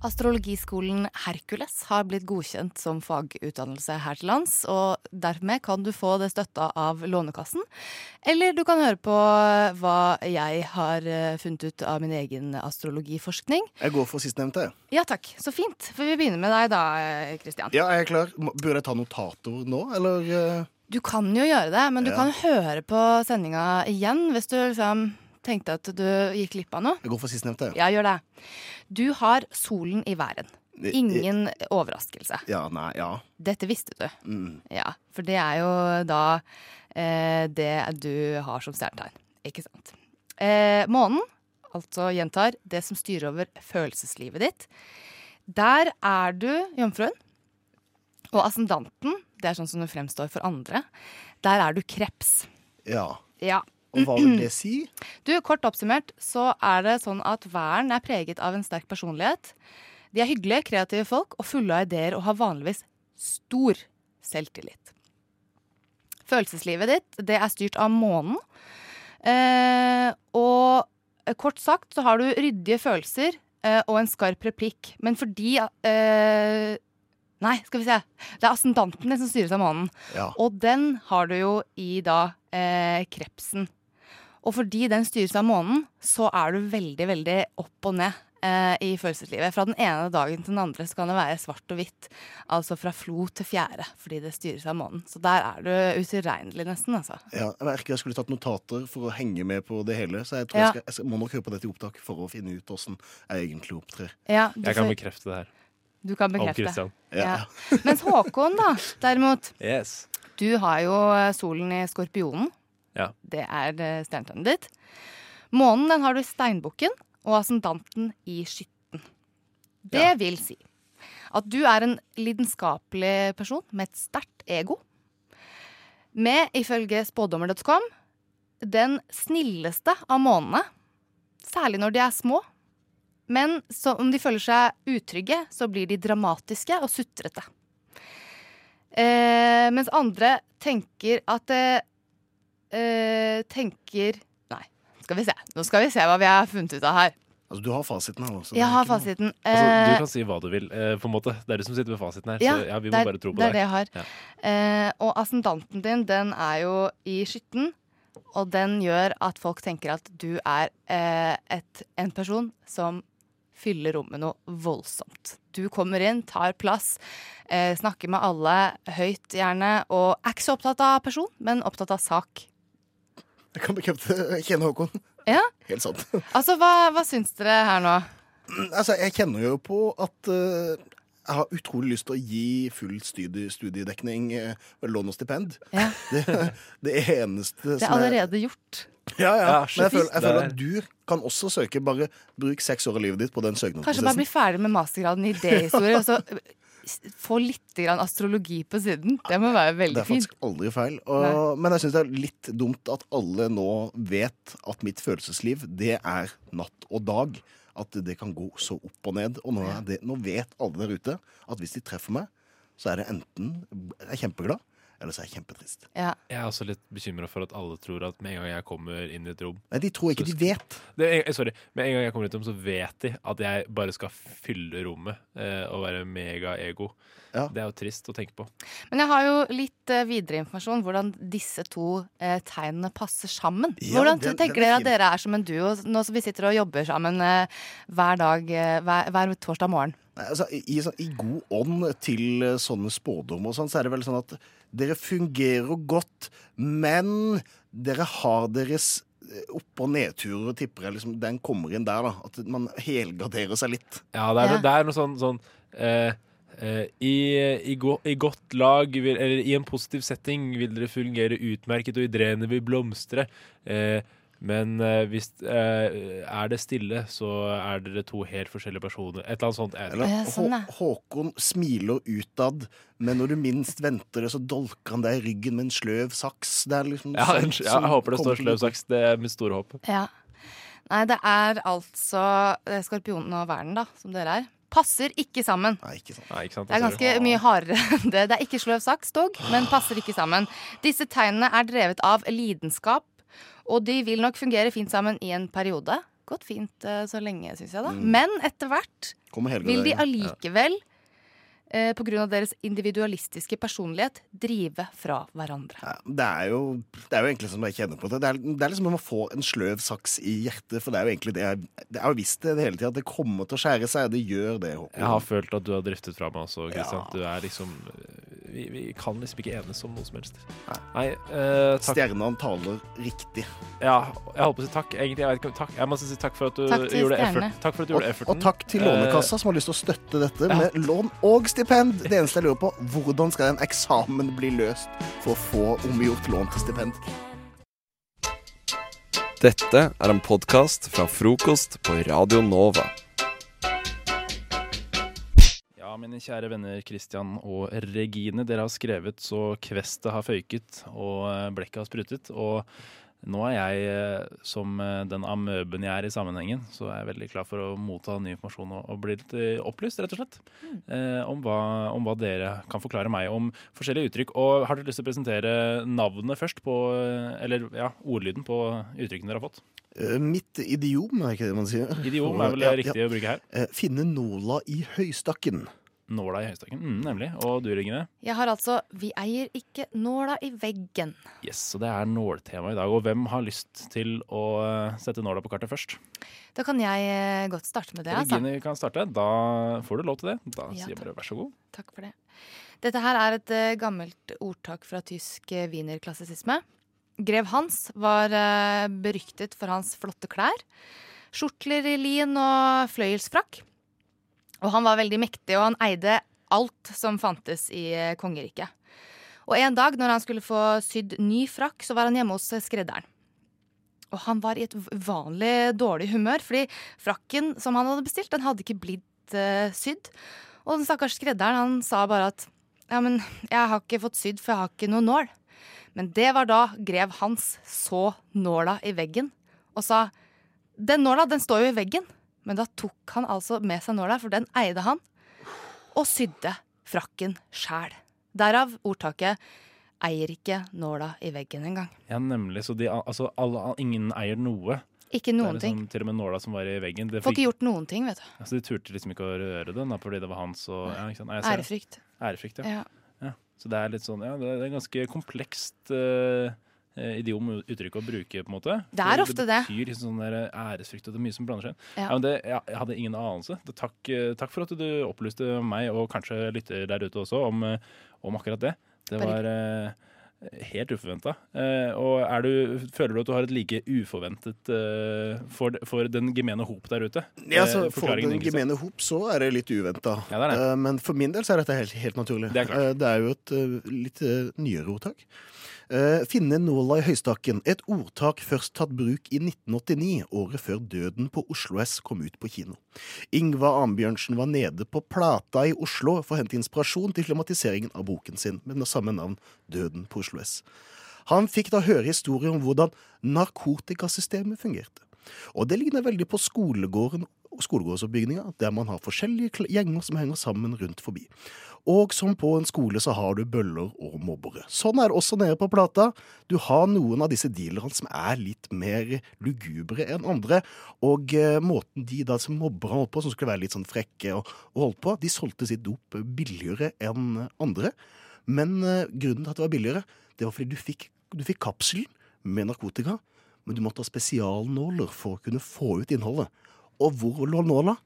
S22: Astrologiskolen Herkules har blitt godkjent som fagutdannelse her til lands, og dermed kan du få det støtta av Lånekassen. Eller du kan høre på hva jeg har eh, funnet ut av min egen astrologiforskning.
S23: Jeg går for sistnevnte. jeg.
S22: Ja takk, så fint. For vi begynner med deg da, eh, Kristian.
S23: Ja, jeg er klar. Må- Burde jeg ta notator nå, eller eh?
S22: Du kan jo gjøre det, men du
S23: Ja.
S22: kan høre på sendinga igjen hvis du liksom tenkte at du gikk glipp av noe.
S23: Jeg går for sistnevnte.
S22: Ja, gjør det. Du har solen i væren.
S23: I- i-
S22: Ingen overraskelse.
S23: Ja, nei, ja.
S22: Dette visste du.
S23: Mm.
S22: Ja, for det er jo da eh, det du har som stjernetegn. Ikke sant. Eh, månen, altså gjentar, det som styrer over følelseslivet ditt. Der er du jomfruen. Og ascendanten, det er sånn som du fremstår for andre, der er du kreps.
S23: ja.
S22: Ja.
S23: Og hva vil det si?
S22: Du, Kort oppsummert så er det sånn at væren er preget av en sterk personlighet. De er hyggelige, kreative folk og fulle av ideer og har vanligvis stor selvtillit. Følelseslivet ditt det er styrt av månen. Eh, og eh, kort sagt så har du ryddige følelser eh, og en skarp replikk. Men fordi eh, Nei, skal vi se. Det er ascendanten din som styres av månen.
S23: Ja.
S22: Og den har du jo i da eh, krepsen. Og fordi den styres av månen, så er du veldig, veldig opp og ned eh, i følelseslivet. Fra den ene dagen til den andre så kan det være svart og hvitt. Altså fra flo til fjære, fordi det styres av månen. Så der er du utilregnelig nesten, altså.
S23: Ja, jeg merker jeg skulle tatt notater for å henge med på det hele. Så jeg tror
S22: Ja.
S23: jeg, skal, jeg skal- må nok høre på dette i opptak for å finne ut åssen jeg egentlig opptrer.
S22: Ja, du Jeg kan får-
S23: bekrefte det her.
S22: Du kan
S23: Av
S22: bekrefte.
S23: Christian. Ja.
S22: Mens Håkon, da, derimot
S24: Yes.
S22: Du har jo eh, solen i skorpionen.
S24: Ja.
S22: Det er eh, stjernetegnet ditt. Månen den har du i steinbukken, og ascendanten i skytten. Det vil si at du er en lidenskapelig person med et sterkt ego. Med, ifølge spådommer.com, den snilleste av månene. Særlig når de er små. Men så, om de føler seg utrygge, så blir de dramatiske og sutrete. Eh, mens andre tenker at eh, eh, Tenker Nei, skal vi se. Nå skal vi se hva vi har funnet ut av her.
S23: Altså, du har fasiten her også.
S22: Jeg har fasiten.
S24: Altså,
S22: Eh,
S24: du kan si hva du vil, eh, på en måte. Det er du som sitter med fasiten her.
S22: ja,
S24: så ja, vi må
S22: det er-
S24: bare tro på
S22: det er
S24: deg.
S22: det jeg har.
S24: Ja.
S22: Eh, og ascendanten din, den er jo i skytten. Og den gjør at folk tenker at du er eh, et, en person som fyller rommet noe voldsomt. Du kommer inn, tar plass, eh, snakker med alle høyt gjerne, og er ikke så opptatt av person, men opptatt av sak.
S23: Jeg kan bekrefte Jeg kjenner Håkon.
S22: Ja,
S23: Helt sant. Mm,
S22: altså hva, hva syns dere her nå?
S23: Altså, jeg kjenner jo på at eh, Jeg har utrolig lyst til å gi full studie, studiedekning, eh, lån og stipend.
S22: Ja.
S23: Det, det eneste
S22: Det er allerede gjort.
S23: Ja, ja.
S22: Ja,
S23: Men jeg føler, jeg
S22: det
S23: føler
S22: er-
S23: at du kan også søke. Bare bruk seks år av livet ditt på den
S22: Kanskje bare
S23: søknadsprosessen.
S22: bli ferdig med mastergraden i idéhistorie, og så s- få litt grann astrologi på siden. Det må være
S23: Det
S22: veldig
S23: er
S22: fint.
S23: faktisk aldri feil. Og, men jeg syns det er litt dumt at alle nå vet at mitt følelsesliv, det er natt og dag. At det kan gå så opp og ned. Og nå, er det, nå vet alle der ute at hvis de treffer meg, så er det enten jeg er kjempeglad, eller så er jeg kjempetrist.
S24: Jeg er også litt bekymra for at alle tror at med en gang jeg kommer inn i et rom
S23: Nei, de tror ikke de vet.
S24: det, er- Sorry. Med en gang jeg kommer inn i et rom, så vet de at jeg bare skal fylle rommet eh, og være megaego. Det er jo trist å tenke på.
S22: Men jeg har jo litt eh, videre informasjon hvordan disse to eh, tegnene passer sammen.
S24: Ja,
S22: hvordan
S24: den-
S22: tenker
S24: den
S22: dere
S24: er fin.
S22: at dere er som en duo nå som vi sitter og jobber sammen eh, hver dag, eh, hver, hver torsdag morgen?
S23: Nei, altså, i, i, sånn- I god ånd til eh, sånne spådommer og sånn, så er det vel sånn at dere fungerer godt, men dere har deres eh, opp- og nedturer, og tipper jeg liksom, den kommer inn der, da. At man helgarderer seg litt.
S24: Ja, det er, det er noe sånn, sånn eh, eh, i, i, go, I godt lag, vil, eller i en positiv setting, vil dere fungere utmerket, og ideene vil blomstre. Eh, men eh, hvis eh, er det stille, så er dere to helt forskjellige personer. Et eller annet sånt. jeg vet
S23: Eller,
S24: ikke.
S22: sånn,
S23: Hå- Håkon smiler utad, men når du minst venter det, så dolker han deg i ryggen med en sløv saks. Det er liksom
S24: ja,
S23: sånt
S24: jeg, jeg
S23: som
S24: håper det
S23: kommer
S24: står
S23: til
S24: sløv saks. Det er mitt store håp.
S22: Ja. Nei, det er altså eh, skorpionen og verden, da, som dere er. Passer ikke sammen.
S23: Nei, ikke sånn. sant.
S22: Det er ganske mye hardere enn det. Det er ikke sløv saks, dog, men passer ikke sammen. Disse tegnene er drevet av lidenskap, og de vil nok fungere fint sammen i en periode. Gått fint eh, så lenge, syns jeg, da.
S23: Mm.
S22: Men etter hvert
S23: Kommer helga
S22: vil de
S23: der, ja.
S22: allikevel, eh, på grunn av deres individualistiske personlighet, drive fra hverandre.
S23: det er, jo, det er jo egentlig som jeg kjenner på det. Det er, det er liksom om å få en sløv saks i hjertet, for det er jo egentlig det jeg, det er jo visst det hele tida, at det kommer til å skjære seg. Det gjør det, Håkon.
S24: Jeg har følt at du har driftet fra meg også, Kristian. Du er liksom vi, vi kan liksom ikke enes om noe som helst. Nei, eh, takk.
S23: Stjernene taler riktig.
S24: Ja, jeg holdt på å si takk. Egentlig, jeg vet ikke om takk. Jeg må si takk for at du
S23: Takk til
S24: gjorde
S23: stjernene.
S24: effort. Takk for at du gjorde
S23: og,
S24: efforten.
S23: og takk til Lånekassa, som har lyst til å støtte dette
S24: ja.
S23: med lån og stipend. Det eneste jeg lurer på, hvordan skal en eksamen bli løst for å få omgjort lån til stipend?
S9: Dette er en podkast fra frokost på Radio Nova.
S24: Ja, mine kjære venner Kristian og Regine. Dere har skrevet så kvestet har føyket og eh, blekket har sprutet. Og nå er jeg, eh, som eh, den amøben jeg er i sammenhengen, så er jeg veldig klar for å motta ny informasjon og, og bli litt eh, opplyst, rett og slett. Eh, om, hva, om hva dere kan forklare meg om forskjellige uttrykk. Og har dere lyst til å presentere navnet først på eh, Eller ja, ordlyden på uttrykkene dere har fått?
S23: Eh, Mitt idiom, er ikke det man sier?
S24: Idiom er vel det riktige å bruke her?
S23: Eh, Finne nåla i høystakken.
S24: Nåla i høystakken, mm, nemlig. Og du, Regine?
S22: Jeg har altså 'Vi eier ikke nåla i veggen'.
S24: Yes, så det er nåltema i dag. Og hvem har lyst til å eh, sette nåla på kartet først?
S22: Da kan jeg eh, godt starte med det. altså.
S24: Regine kan starte. Da får du lov til det. Da
S22: Ja,
S24: sier jeg bare vær så god.
S22: Takk for det. Dette her er et eh, gammelt ordtak fra tysk eh, wienerklassisisme. Grev Hans var eh, beryktet for hans flotte klær. Skjortler i lin og fløyelsfrakk. Og han var veldig mektig, og han eide alt som fantes i eh, kongeriket. Og en dag når han skulle få sydd ny frakk, så var han hjemme hos eh, skredderen. Og han var i et v- vanlig dårlig humør, fordi frakken som han hadde bestilt, den hadde ikke blitt eh, sydd. Og den stakkars skredderen han sa bare at ja, men jeg har ikke fått sydd, for jeg har ikke noe nål. Men det var da grev Hans så nåla i veggen og sa den nåla, den står jo i veggen. Men da tok han altså med seg nåla, for den eide han, og sydde frakken sjæl. Derav ordtaket 'eier ikke nåla i veggen engang'.
S24: Ja, nemlig. Så de, altså, alle, ingen eier noe.
S22: Ikke noen
S24: det er liksom, Til og med nåla som var i veggen. Det
S22: Får ikke
S24: fikk-
S22: gjort noen ting, vet du.
S24: altså, de turte liksom ikke å røre den da, fordi det var hans. Og, ja, ikke sant? Nei, jeg ser det.
S22: Ærefrykt.
S24: Ærefrykt, ja.
S22: Ja.
S24: ja. Så det er litt sånn, ja, det er det er ganske komplekst eh, eh, idiom uttrykk å bruke, på en måte.
S22: Det er
S24: For
S22: ofte det.
S24: betyr liksom sånn der æresfrykt, og det er mye som blander seg inn.
S22: Ja.
S24: Ja. men det, jeg, jeg hadde ingen anelse. Det, takk, eh, takk for at du opplyste meg, og kanskje lytter der ute også, om, eh, om akkurat det. Det
S23: Bare
S24: var eh, Helt uforventa. Og er du, føler du at du har et like uforventet eh, for, for den gemene hop der ute?
S23: Ja, altså, så
S24: Eh,
S23: For
S24: forklaringen,
S23: den
S24: Kristian.
S23: gemene hop så er det litt uventa.
S24: det er det.
S23: Eh, Men for min del så er dette helt, helt naturlig. Det er, det er jo et eh, litt eh, nyere ordtak. Eh, Finne nåla i høystakken. Et ordtak først tatt bruk i 1989, året før Døden på Oslo S kom ut på kino. Ingva Ambjørnsen var nede på Plata i Oslo for å hente inspirasjon til filmatiseringen av boken sin med det samme navn, Døden på Oslo S. Han fikk da høre historier om hvordan narkotikasystemet fungerte. Og det ligner veldig på skolegården skolegårdsoppbygninga, der man har forskjellige kl- gjenger som henger sammen rundt forbi. Og som på en skole så har du bøller og mobbere. Sånn er det også nede på Plata. Du har noen av disse dealerne som er litt mer lugubre enn andre, og eh, måten de da som mobberne holdt på, som skulle være litt sånn frekke og, og holdt på, de solgte sitt dop billigere enn andre. Men eh, grunnen til at det var billigere, det var fordi du fikk, du fikk kapselen med narkotika, men du måtte ha spesialnåler for å kunne få ut innholdet. Og hvor lå nåla?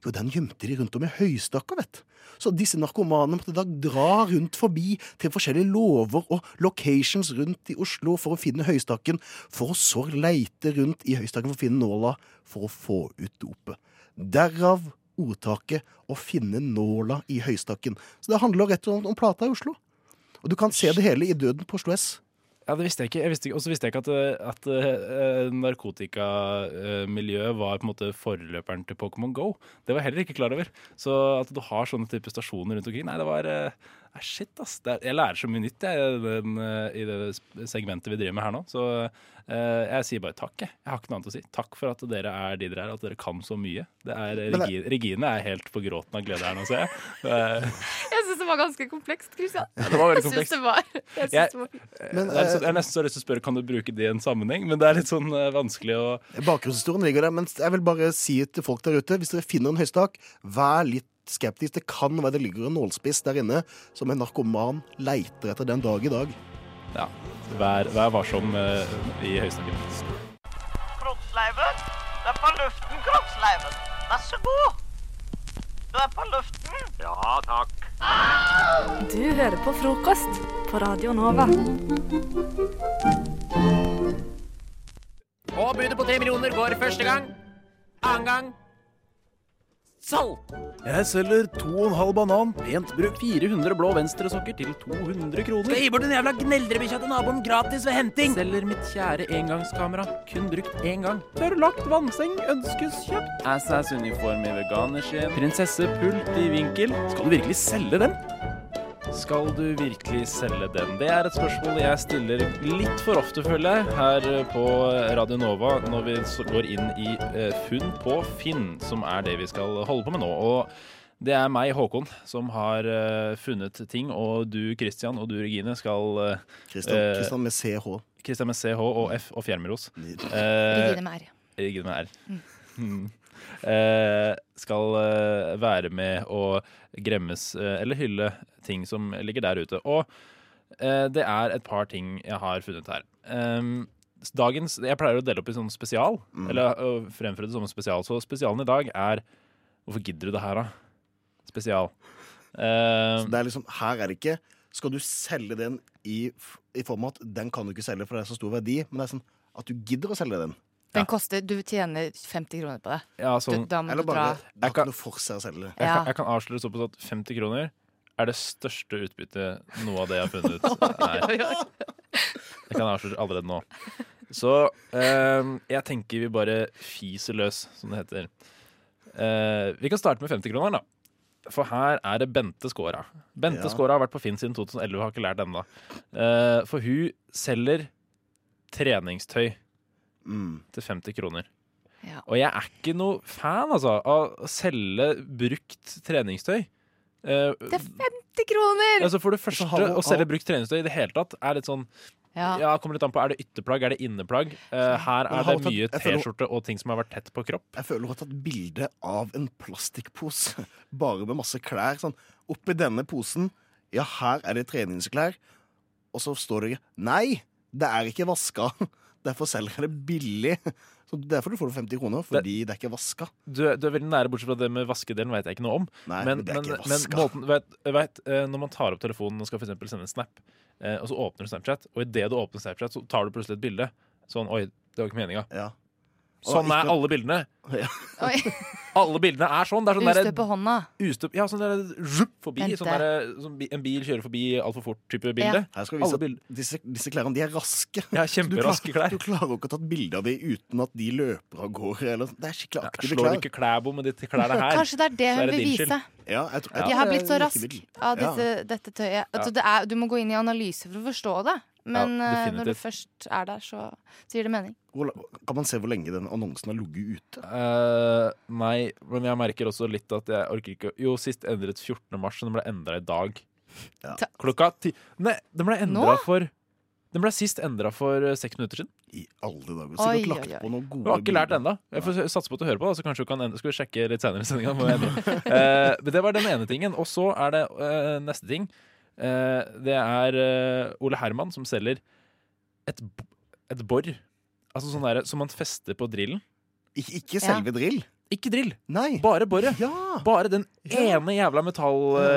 S23: Jo, den gjemte de rundt om i høystakker, vet Så disse narkomanene måtte da dra rundt forbi til forskjellige låver og locations rundt i Oslo for å finne høystakken, for å så leite rundt i høystakken for å finne nåla for å få ut dopet. Derav ordtaket 'å finne nåla i høystakken'. Så det handler rett og slett om plata i Oslo. Og du kan se det hele i Døden på Oslo S.
S24: Ja, det visste jeg ikke. Jeg visste ikke og så visste jeg ikke at, eh, at eh, narkotikamiljøet var på en måte forløperen til Pokémon Go. Det var jeg heller ikke klar over. Så at du har sånne type stasjoner rundt omkring Nei, det var eh, nei, Shit, ass. Det er, jeg lærer så mye nytt jeg, i den, eh, i det sp- segmentet vi driver med her nå. Så eh, jeg sier bare takk, jeg. Jeg har ikke noe annet å si. Takk for at dere er de dere er, at dere kan så mye. Det er,
S23: Men
S24: Regi- Regine er helt på gråten av glede her nå, ser jeg. Eh,
S17: Jeg syns det var ganske komplekst, Christian.
S24: Ja, det var veldig
S17: Jeg
S24: komplekst.
S17: synes det var, jeg eh, synes
S24: Jeg,
S17: det var.
S24: jeg, er litt sånn- jeg er nesten så lyst til å spørre Kan du bruke det i en sammenheng, men det er litt sånn eh, vanskelig å
S23: Bakgrunnshistorien ligger der, men jeg vil bare si til folk der ute, hvis dere finner en høystak, vær litt skeptisk. Det kan være det ligger en nålspiss der inne som en narkoman leiter etter den dag i dag.
S24: Ja, vær, vær varsom eh, i høystakken.
S5: Kroppsleiven. Du er på luften, kroppsleiven. Vær så god. Du er på luften. Ja, takk.
S6: Du hører på frokost på Radio Nova.
S7: Og budet på tre millioner går første gang. Annen gang salg.
S21: Jeg selger 2,5 banan, pent bruk 400 blå venstresokker til 200 kroner.
S7: Skal gi bort den jævla gneldrebikkja til naboen gratis ved henting. Selger mitt kjære engangskamera. Kun brukt én gang.
S21: Tørrlagt vannseng ønskes kjøpt.
S7: Assas uniform i veganerskinn.
S21: Prinsesse pult i vinkel. Skal du virkelig selge den?
S24: Skal du virkelig selge den? Det er et spørsmål jeg stiller litt for ofte, føler jeg, her på Radio Nova når vi så går inn i eh, Funn på Finn, som er det vi skal holde på med nå. Og det er meg, Håkon, som har eh, funnet ting, og du, Christian, og du, Regine, skal eh,
S23: Christian,
S24: eh,
S23: Christian med CH.
S24: Christian med CH og F og fjernmyros.
S22: Regine med R.
S24: Regine med R.
S22: Mm.
S24: Mm. Eh, skal eh, være med å gremmes eh, eller hylle ting som ligger der ute. Og eh, det er et par ting jeg har funnet her. Em, dagens, Jeg pleier å dele opp i sånn spesial,
S23: Mm.
S24: eller eh, å fremføre det som en spesial. Så spesialen i dag er Hvorfor gidder du det her, da? Spesial.
S23: Så det er liksom, her er det ikke Skal du selge den i, f- i form av at den kan du ikke selge, for det er så stor verdi, men det er sånn at du gidder å selge den.
S22: Den koster, du tjener 50 kroner på det.
S24: Ja,
S22: du, da må
S23: Eller
S22: du
S23: bare
S22: dra.
S23: Det har ikke noe for seg å selge.
S24: sånn- Jeg, kan, jeg kan avsløre såpass sånn at 50 kroner er det største utbyttet noe av det jeg har funnet ut.
S22: Oi, oi,
S24: er. Jeg kan avsløre allerede nå. Så eh, jeg tenker vi bare fiser løs, som det heter. Eh, vi kan starte med 50-kroneren, da. For her er det Bente Skåra. Bente
S23: Ja.
S24: Skåra har vært på Finn siden 2011 og har ikke lært ennå. Eh, for hun selger treningstøy
S23: Mm.
S24: til 50 kroner.
S22: Ja.
S24: Og jeg er ikke noe fan altså, av å selge brukt treningstøy. Eh,
S22: Det er 50 kroner!
S24: altså for det første,
S22: har du-
S24: å selge brukt treningstøy i det hele tatt er litt sånn
S22: Ja. Sånn.
S24: ja, kommer litt an på. Er det ytterplagg, er det inneplagg? Eh, her
S23: Men
S24: er
S23: har
S24: det
S23: du tatt- jeg
S24: mye
S23: føler-
S24: T-skjorte og ting som har vært tett på kropp.
S23: Jeg føler hun har tatt bilde av en plastikkpose, bare med masse klær. Sånn. Oppi denne posen, ja, her er det treningsklær. Og så står det Nei, det er ikke vaska. Derfor selger jeg det billig. Så derfor du får 50 kroner, fordi det, er ikke vaska.
S24: Du, er- du er veldig nære, bortsett fra det med vaskedelen vet jeg ikke noe om.
S23: Nei, men det er ikke
S24: men
S23: vaska.
S24: måten, vet, vet, eh, når man tar opp telefonen og skal for eksempel sende en snap, eh, og så åpner du Snapchat, og idet du åpner Snapchat, så tar du plutselig et bilde. Sånn Oi, det var ikke meninga.
S23: Og
S24: Sånn
S23: ikke-
S24: er alle bildene.
S22: Oi.
S24: Alle bildene er sånn. Det er sånn
S22: Ustø
S24: derre
S22: på hånda.
S24: Ustøp, ja, sånn der, zhup, forbi,
S22: Vent
S24: sånn
S22: der.
S24: der, sånn, bi- en bil kjører forbi altfor fort-type
S22: Ja.
S24: bilde.
S23: Her skal vi vise
S24: Alle
S23: at disse, disse klærne de er raske. du,
S24: Ja,
S23: klarer,
S24: kjemperaske klær.
S23: du klarer jo ikke å ta et bilde av dem uten at de løper av gårde. Eller, sånn. det er skikkelig aktive
S24: slår
S23: klær.
S24: ikke Klæbo med de klærne her.
S22: Kanskje det er det
S24: så
S22: hun vil
S24: din
S22: vise.
S24: skyld.
S23: Ja, jeg tror-
S22: Jeg
S23: jeg tror
S22: har
S23: det er
S22: blitt så
S23: en
S22: rask
S23: virkemiddel.
S22: av
S23: Ja.
S22: disse, dette tøyet. at
S23: Ja.
S22: det er, du må gå inn i analyse for å forstå det. Men
S23: Ja,
S22: eh, når du
S23: definitivt.
S22: først er der, så, så gir det mening.
S23: Hvor, kan man se hvor lenge den annonsen har ligget ute?
S24: Eh, nei, men jeg merker også litt at jeg orker ikke å- Jo, sist endret 14. mars, så den ble endra i dag.
S23: Ta-
S24: Klokka ti Nei, den ble endra
S23: Nå?
S24: for Den ble sist endra for eh, seks minutter siden.
S23: I alle dager.
S24: så
S23: Sikkert
S24: du
S23: lagt på noen gode
S24: Du har ikke lært
S23: bilder.
S24: ennå. Jeg får satse på at du hører på, da, så kanskje du kan endre. Skal vi sjekke litt senere i sendinga. må vi endre. Eh, men det var den ene tingen. Og så er det eh, neste ting. Eh, det er eh, Ole Herman som selger et, b- et bor. Altså sånn derre som man fester på drillen.
S23: Ikke, selve drill?
S24: Ikke drill.
S23: Bare
S24: boret. Bare den ene jævla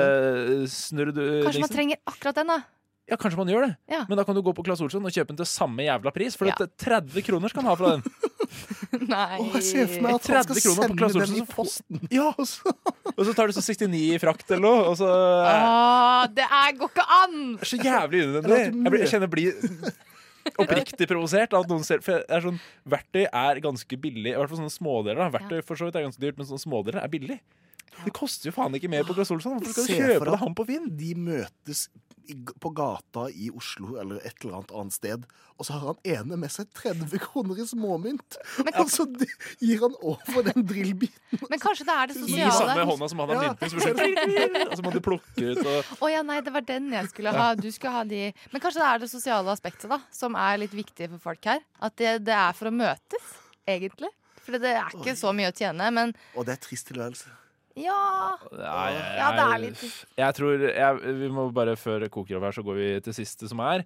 S24: metallsnurr du
S22: Kanskje man
S24: eh, dingsen.
S22: trenger akkurat den, da.
S24: Ja, kanskje man gjør det.
S22: Ja.
S24: Men da kan du gå på Claes Olsson og kjøpe den til samme jævla pris, for
S22: Ja.
S24: at 30 kroner skal han ha fra den.
S22: Nei.
S23: Å, jeg ser for meg at han skal
S24: 30 kroner på
S23: sende
S24: Claes
S23: den
S24: Olsson
S23: i
S24: som posten.
S23: Ja, og så
S24: Og så tar du så 69 i frakt eller noe, og så eh,
S22: Ah, det er, går ikke an!
S24: Det er så jævlig unødvendig.
S22: Eller at du
S24: Jeg, blir, jeg kjenner jeg blir oppriktig provosert av at noen ser For jeg er sånn, verktøy er ganske billig. I hvert fall sånne smådeler. da Verktøy for så vidt er ganske dyrt, men sånne smådeler er billig. Det koster jo faen ikke mer på Claes Olsson. Hvorfor skal du
S23: Se for
S24: kjøpe
S23: deg
S24: det han på Finn?
S23: De møtes i, på gata i Oslo eller et eller annet annet sted, og så har han ene med seg 30 kroner i småmynt! Og så de- gir han over den drillbiten.
S22: Men kanskje det er det
S24: I
S22: sosiale.
S24: samme hånda som han har
S22: Ja.
S24: mynten i. så blir det-
S7: Altså,
S24: Og så må du plukke ut og
S22: Å ja, nei, det var den jeg skulle ha. Du skulle ha de Men kanskje det er det sosiale aspektet da som er litt viktig for folk her. At det, det er for å møtes, egentlig. For det er ikke så mye å tjene, men
S23: Og det er trist tilværelse.
S22: ja
S24: Nei, jeg,
S22: Ja, det er litt trist.
S24: Jeg tror jeg, Vi må bare før det koker over her, så går vi til siste som er.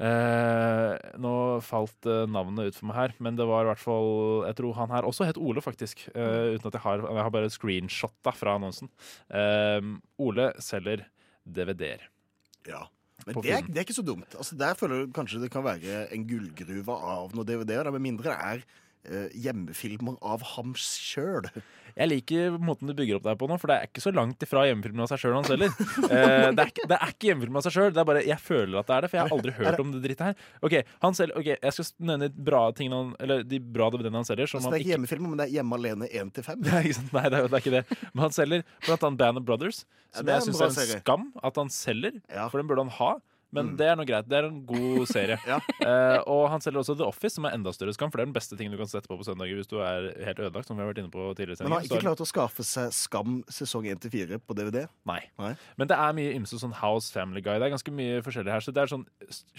S24: Eh, nå falt eh, navnet ut for meg her, men det var i hvert fall Jeg tror han her også het Ole, faktisk. eh, uten at jeg har Jeg har bare screenshotta fra annonsen. Eh, Ole selger DVD-er.
S23: Ja. Men
S24: På
S23: det er,
S24: Finn.
S23: det er ikke så dumt. Altså, der føler jeg kanskje det kan være en gullgruve av noen DVD-er, da, med mindre det er eh, hjemmefilmer av ham sjøl.
S24: Jeg liker måten du bygger opp deg på nå, for det er ikke så langt ifra hjemmefilmen av seg sjøl han selger. Eh, det, er, ikke- det er ikke hjemmefilmen av seg sjøl, det er bare jeg føler at det er det, for jeg har aldri hørt om det drittet her. Ok, han selger, ok, Jeg skal nevne de bra tingene han, eller de bra DVD-ene han selger. Som
S23: Altså,
S24: han
S23: det er ikke
S24: ikke,
S23: hjemmefilmer, men det er Hjemme alene 1 til 5.
S24: Nei, ikke sant? Nei, det er jo det er ikke det. Men han selger blant annet Band of Brothers,
S23: Ja,
S24: som
S23: det er
S24: jeg
S23: en
S24: syns
S23: bra
S24: er en
S23: serie. Mm.
S24: skam at han selger, for den burde han ha. Men det er noe greit. Det er en god serie. Eh, og han selger også The Office, som er enda større skam, for det er den beste tingen du kan sette på på søndager hvis du er helt ødelagt, som vi har vært inne på tidligere. i
S23: Men han har
S15: Seriøst,
S23: ikke
S15: da-
S23: klart å skaffe seg Skam sesong 1 til 4 på DVD.
S24: Nei. Men det er mye ymse sånn House Family Guy. Det er ganske mye forskjellig her. Så det er sånn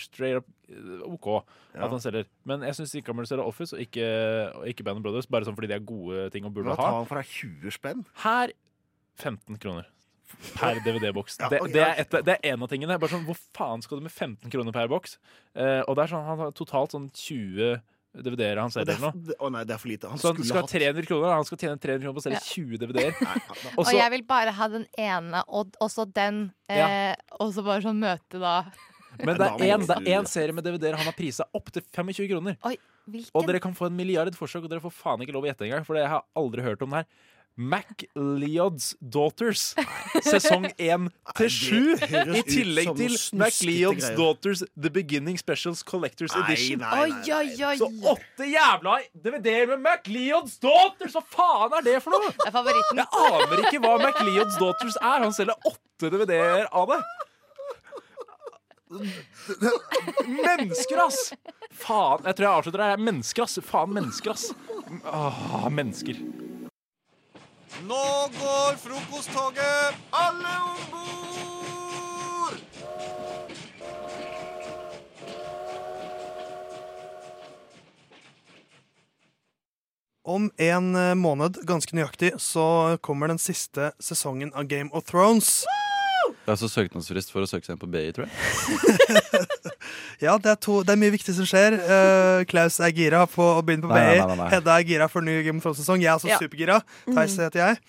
S24: straight up eh, OK
S23: Ja.
S24: at han selger. Men jeg syns ikke han burde selge Office og ikke, og ikke Band of Brothers, bare sånn fordi de er gode ting og burde
S23: Da tar
S24: ha.
S23: han for deg 20 spenn.
S24: Her 15 kroner. Per DVD-boks.
S23: Ja,
S24: Det,
S23: ok,
S24: det,
S23: ja.
S24: er et- det er en av tingene. Bare sånn, Hvor faen skal du med 15 kroner per boks? Eh, og det er sånn, Han har totalt sånn 20 DVD-er han
S23: Og
S24: selger
S23: det er,
S24: eller noe.
S23: f- det- å nei, det er for lite. Han
S24: Så han
S23: skulle
S24: skal ha
S23: hatt
S24: 300 kroner. Han skal tjene 300 kroner på å selge
S22: Ja.
S24: 20 DVD-er.
S22: Og jeg vil bare ha den ene, og også den.
S24: Ja.
S22: Eh, og så bare sånn møte, da.
S24: Men det er en- det er én serie med DVD-er han har prisa opp til 25 kroner. Og dere kan få en milliard forsøk, og dere får faen ikke lov å gjette engang. For jeg har aldri hørt om det her. Mac Leod's Daughters, sesong 1 til
S23: høres
S24: 7. I
S23: ut
S24: tillegg
S23: som
S24: til
S23: noe snuskete
S24: Mac Leod's
S23: greier.
S24: Daughters The Beginning Specials Collectors
S23: Nei,
S24: Edition.
S23: nei, nei, nei.
S22: Oi, oi.
S24: Så åtte jævla DVD-er med Mac Leod's Daughters! Hva faen er det for noe?!
S22: Det er favoritten.
S24: Jeg aner ikke hva Mac Leod's Daughters er. Han selger åtte DVD-er av det. Mennesker, ass! Faen, jeg tror jeg avslutter her. Mennesker, ass. Faen, mennesker, ass. Åh, mennesker.
S16: Nå går frokosttoget! Alle om bord!
S3: Om en eh, måned, ganske nøyaktig, så kommer den siste sesongen av Game of Thrones.
S9: Det er også søknadsfrist for å søke seg inn på BI, tror jeg.
S11: Ja, det er, to, det er mye viktig som skjer. Eh, Klaus er gira på å begynne på
S1: Nei, nei,
S11: BI.
S1: nei, nei, nei.
S11: Hedda er gira for ny Game of Thrones-sesong. Jeg er også
S1: Ja.
S11: supergira. Theis
S1: Mhm.
S11: heter jeg.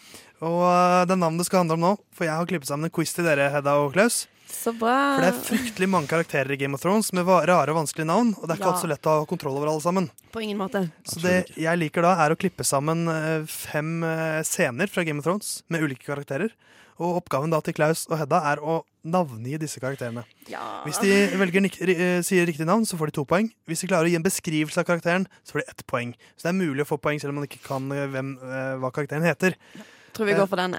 S11: Og eh, det er navnet det skal handle om nå, for jeg har klippet sammen en quiz til dere, Hedda og Klaus.
S6: Så bra.
S11: For det er fryktelig mange karakterer i Game of Thrones med va- rare og vanskelige navn, og det er ikke
S6: Ja.
S11: alltid så lett å ha kontroll over alle sammen.
S6: På ingen måte.
S11: Så det jeg liker da, er å klippe sammen eh, fem eh, scener fra Game of Thrones med ulike karakterer. Og oppgaven da til Klaus og Hedda er å navngi disse karakterene.
S6: Ja.
S11: Hvis de velger nik ri- eh, sier riktig navn, så får de to poeng. Hvis de klarer å gi en beskrivelse av karakteren, så får de ett poeng. Så det er mulig å få poeng selv om man ikke kan eh, hvem, eh, hva karakteren heter. Eh,
S6: Tror vi går for denne.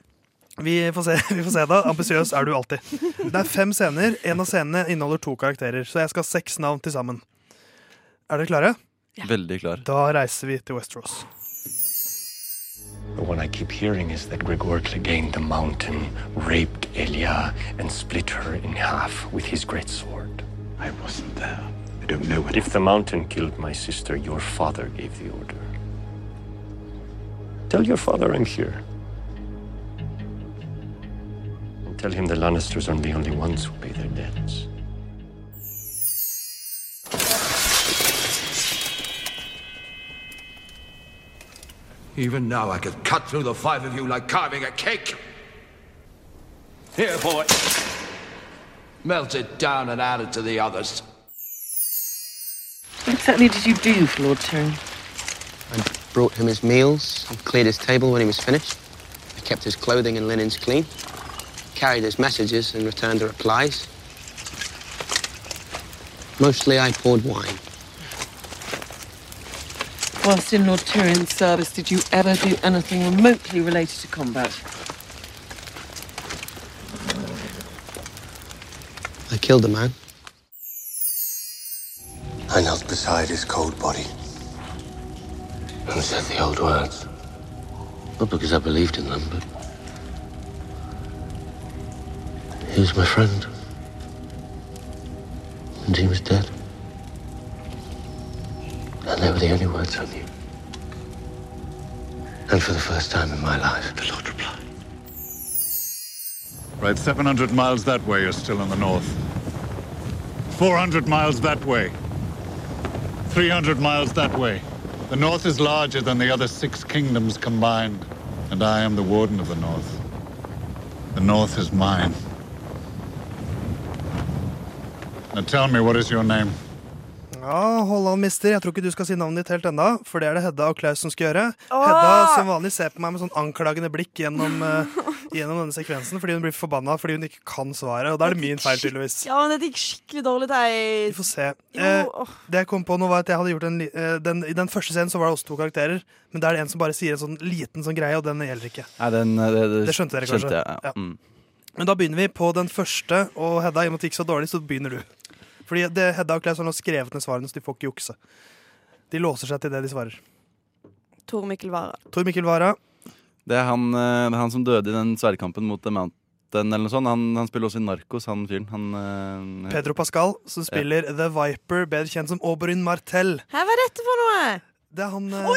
S11: Vi får se, vi får se da. Ambisiøs er du alltid. Det er fem scener. En av scenene inneholder to karakterer, så jeg skal ha seks navn til sammen. Er dere klare?
S24: Veldig klar.
S11: Da reiser vi til Westeros.
S25: The one I keep hearing is that Gregor Clegane the Mountain raped Elia and split her in half with his great sword. I wasn't there. I don't know what. If the mountain killed my sister, your father gave the order. Tell your father I'm here. And tell him the Lannisters aren't the only ones who pay their debts.
S12: Even now I could cut through the five of you like carving a cake. Here, boy. Melt it down and add it to the others.
S14: What exactly did you do for Lord Tyrion?
S26: Brought him his meals, and cleared his table when he was finished. I kept his clothing and linens clean, carried his messages and returned the replies. Mostly I poured wine.
S14: Whilst in Lord Tyrion's service, did you ever do anything remotely related to combat?
S26: I killed a man.
S25: I knelt beside his cold body and said the old words.
S26: Not because I believed in them, but he was my friend. And he was dead.
S25: And they were the only words I knew. And for the first time in my life, the Lord replied.
S8: Right, 700 miles that way, you're still in the north. 400 miles that way. 300 miles that way. The north is larger than the other six kingdoms combined, and I am the warden of the north. The north is mine. Now tell me, what is your name?
S11: Ja, Holland mister. Jeg tror ikke du skal si navnet ditt helt ennå, for det er det Hedda og Klaus som skal gjøre.
S1: Åh!
S11: Hedda som vanlig ser på meg med sånn anklagende blikk gjennom, eh, gjennom denne sekvensen fordi hun blir forbanna fordi hun ikke kan svaret. Og da er det min feil, tydeligvis.
S1: Ja, men dette gikk skikkelig dårlig,
S11: Vi
S1: Theis.
S11: får se. Eh, det jeg kom på nå var at jeg hadde gjort en, li- eh, den, I den første scenen så var det også to karakterer, men da er det en som bare sier en sånn liten sånn greie, og den gjelder ikke.
S1: Nei, den, eh, det, det,
S11: Det skjønte dere kanskje?
S1: Skjønte
S11: Ja.
S1: jeg, ja. Mm.
S11: Men da begynner vi på den første, og Hedda, i og med at det gikk så dårlig, så begynner du. Fordi det, Hedda og Klaus har nå skrevet ned svarene, så de får ikke jukse. De låser seg til det de svarer.
S6: Tor Mikkel Wara.
S11: Tor Mikkel Wara.
S1: Det, er han, eh, det er han som døde i den sverdkampen mot The Mountain eller noe sånt. Han, han spiller også i Narkos, han fyren. Han, eh,
S11: Pedro Pascal, som
S1: Ja.
S11: spiller The Viper, bedre kjent som Oberyn Martell.
S6: Her var dette for noe!
S11: Det er han, eh, Der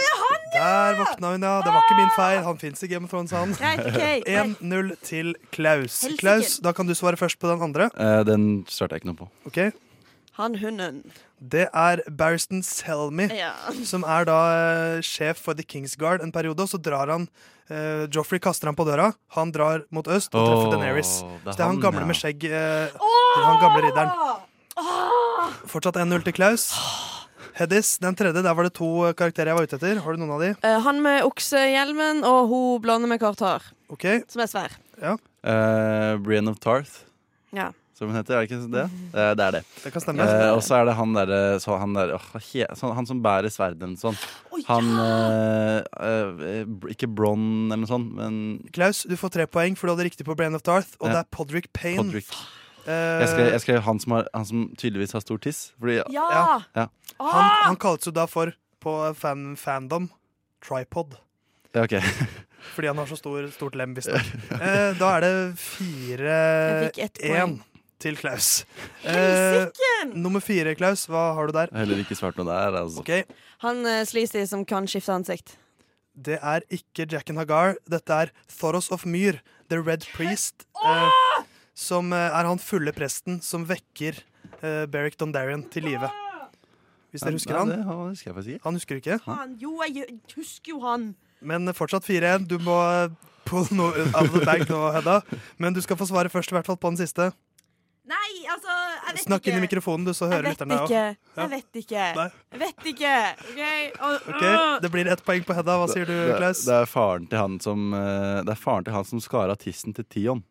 S11: våkna hun, ja. Det var ikke min feil. Han fins i Game of Thrones, han.
S1: Greit, ok.
S11: 1-0 til Klaus.
S6: Helsike.
S11: Klaus, da kan du svare først på den andre.
S1: eh, den starta jeg ikke noe på.
S11: Ok?
S6: Han hunden.
S11: Det er Barristan Selmy,
S6: Ja.
S11: som er da eh, sjef for The Kingsguard en periode. Og så drar han eh, Joffrey kaster han på døra. Han drar mot øst og treffer
S1: Åh,
S11: Daenerys.
S1: det er
S11: Så det er han
S1: han,
S11: gamle
S1: ja.
S11: med skjegg. eh, han gamle ridderen. Fortsatt 1-0 til Klaus. Heddis, den tredje, der var det to eh, karakterer jeg var ute etter. Har du noen av de?
S6: Eh, han med oksehjelmen og hun blonde med kort hår. Som er svær.
S1: Eh, Brienne of Tarth,
S6: Ja.
S1: som hun heter. Er det ikke det? Eh, det er det.
S11: Det kan stemme.
S1: Eh, og så er det han derre så han, der, åh, hva he, sånn- han som bærer sverdet eller noe sånt. Han eh, eh, br- Ikke Bron eller noe sånt, men
S11: Klaus, du får tre poeng, for du hadde riktig på Brain of Darth, og det
S1: Ja.
S11: er Podrick Payne.
S1: Podrick.
S11: Eh,
S1: Jeg skrev, jeg skrev han, som har, han som tydeligvis har stor tiss. Fordi,
S11: Ja!
S1: ja.
S11: Han, han kalles jo da for, på fan, fandom, Tripod.
S1: Ja, ok.
S11: Fordi han har så stor, stort lem, visstnok. Eh, da er det
S6: Jeg fikk ett
S11: 4-1
S6: poeng.
S11: til Klaus. Eh, nummer fire, Klaus. Hva har du der?
S1: Jeg har heller ikke svart noe der. Altså.
S11: Ok,
S6: Han uh, sleazy som kan skifte ansikt.
S11: Det er ikke Jack and Hagar. Dette er Thoros of Myr, The Red Priest. Eh, som eh, er han fulle presten som vekker eh, Beric Dondarian til live. Hvis
S1: Nei,
S11: dere husker
S1: nei,
S11: han.
S1: det han husker jeg faktisk ikke.
S11: Han husker du ikke?
S3: Han, jo, jeg husker jo han.
S11: Men fortsatt 4-1. Du må eh, pull no out of the bank nå, Hedda. Men du skal få svare først, i hvert fall på den siste.
S3: Nei, altså, jeg vet
S11: Snakk
S3: ikke.
S11: inn i mikrofonen, du, så hører
S3: jeg vet
S11: lytterne
S3: ikke.
S11: òg.
S3: Jeg vet ikke.
S11: Nei.
S3: Jeg vet ikke. OK? Og-
S11: Ok, Det blir ett poeng på Hedda. Hva sier du,
S1: Det-
S11: Klaus?
S1: Det er faren til han som eh, Det er faren til han som skar av tissen til Tion.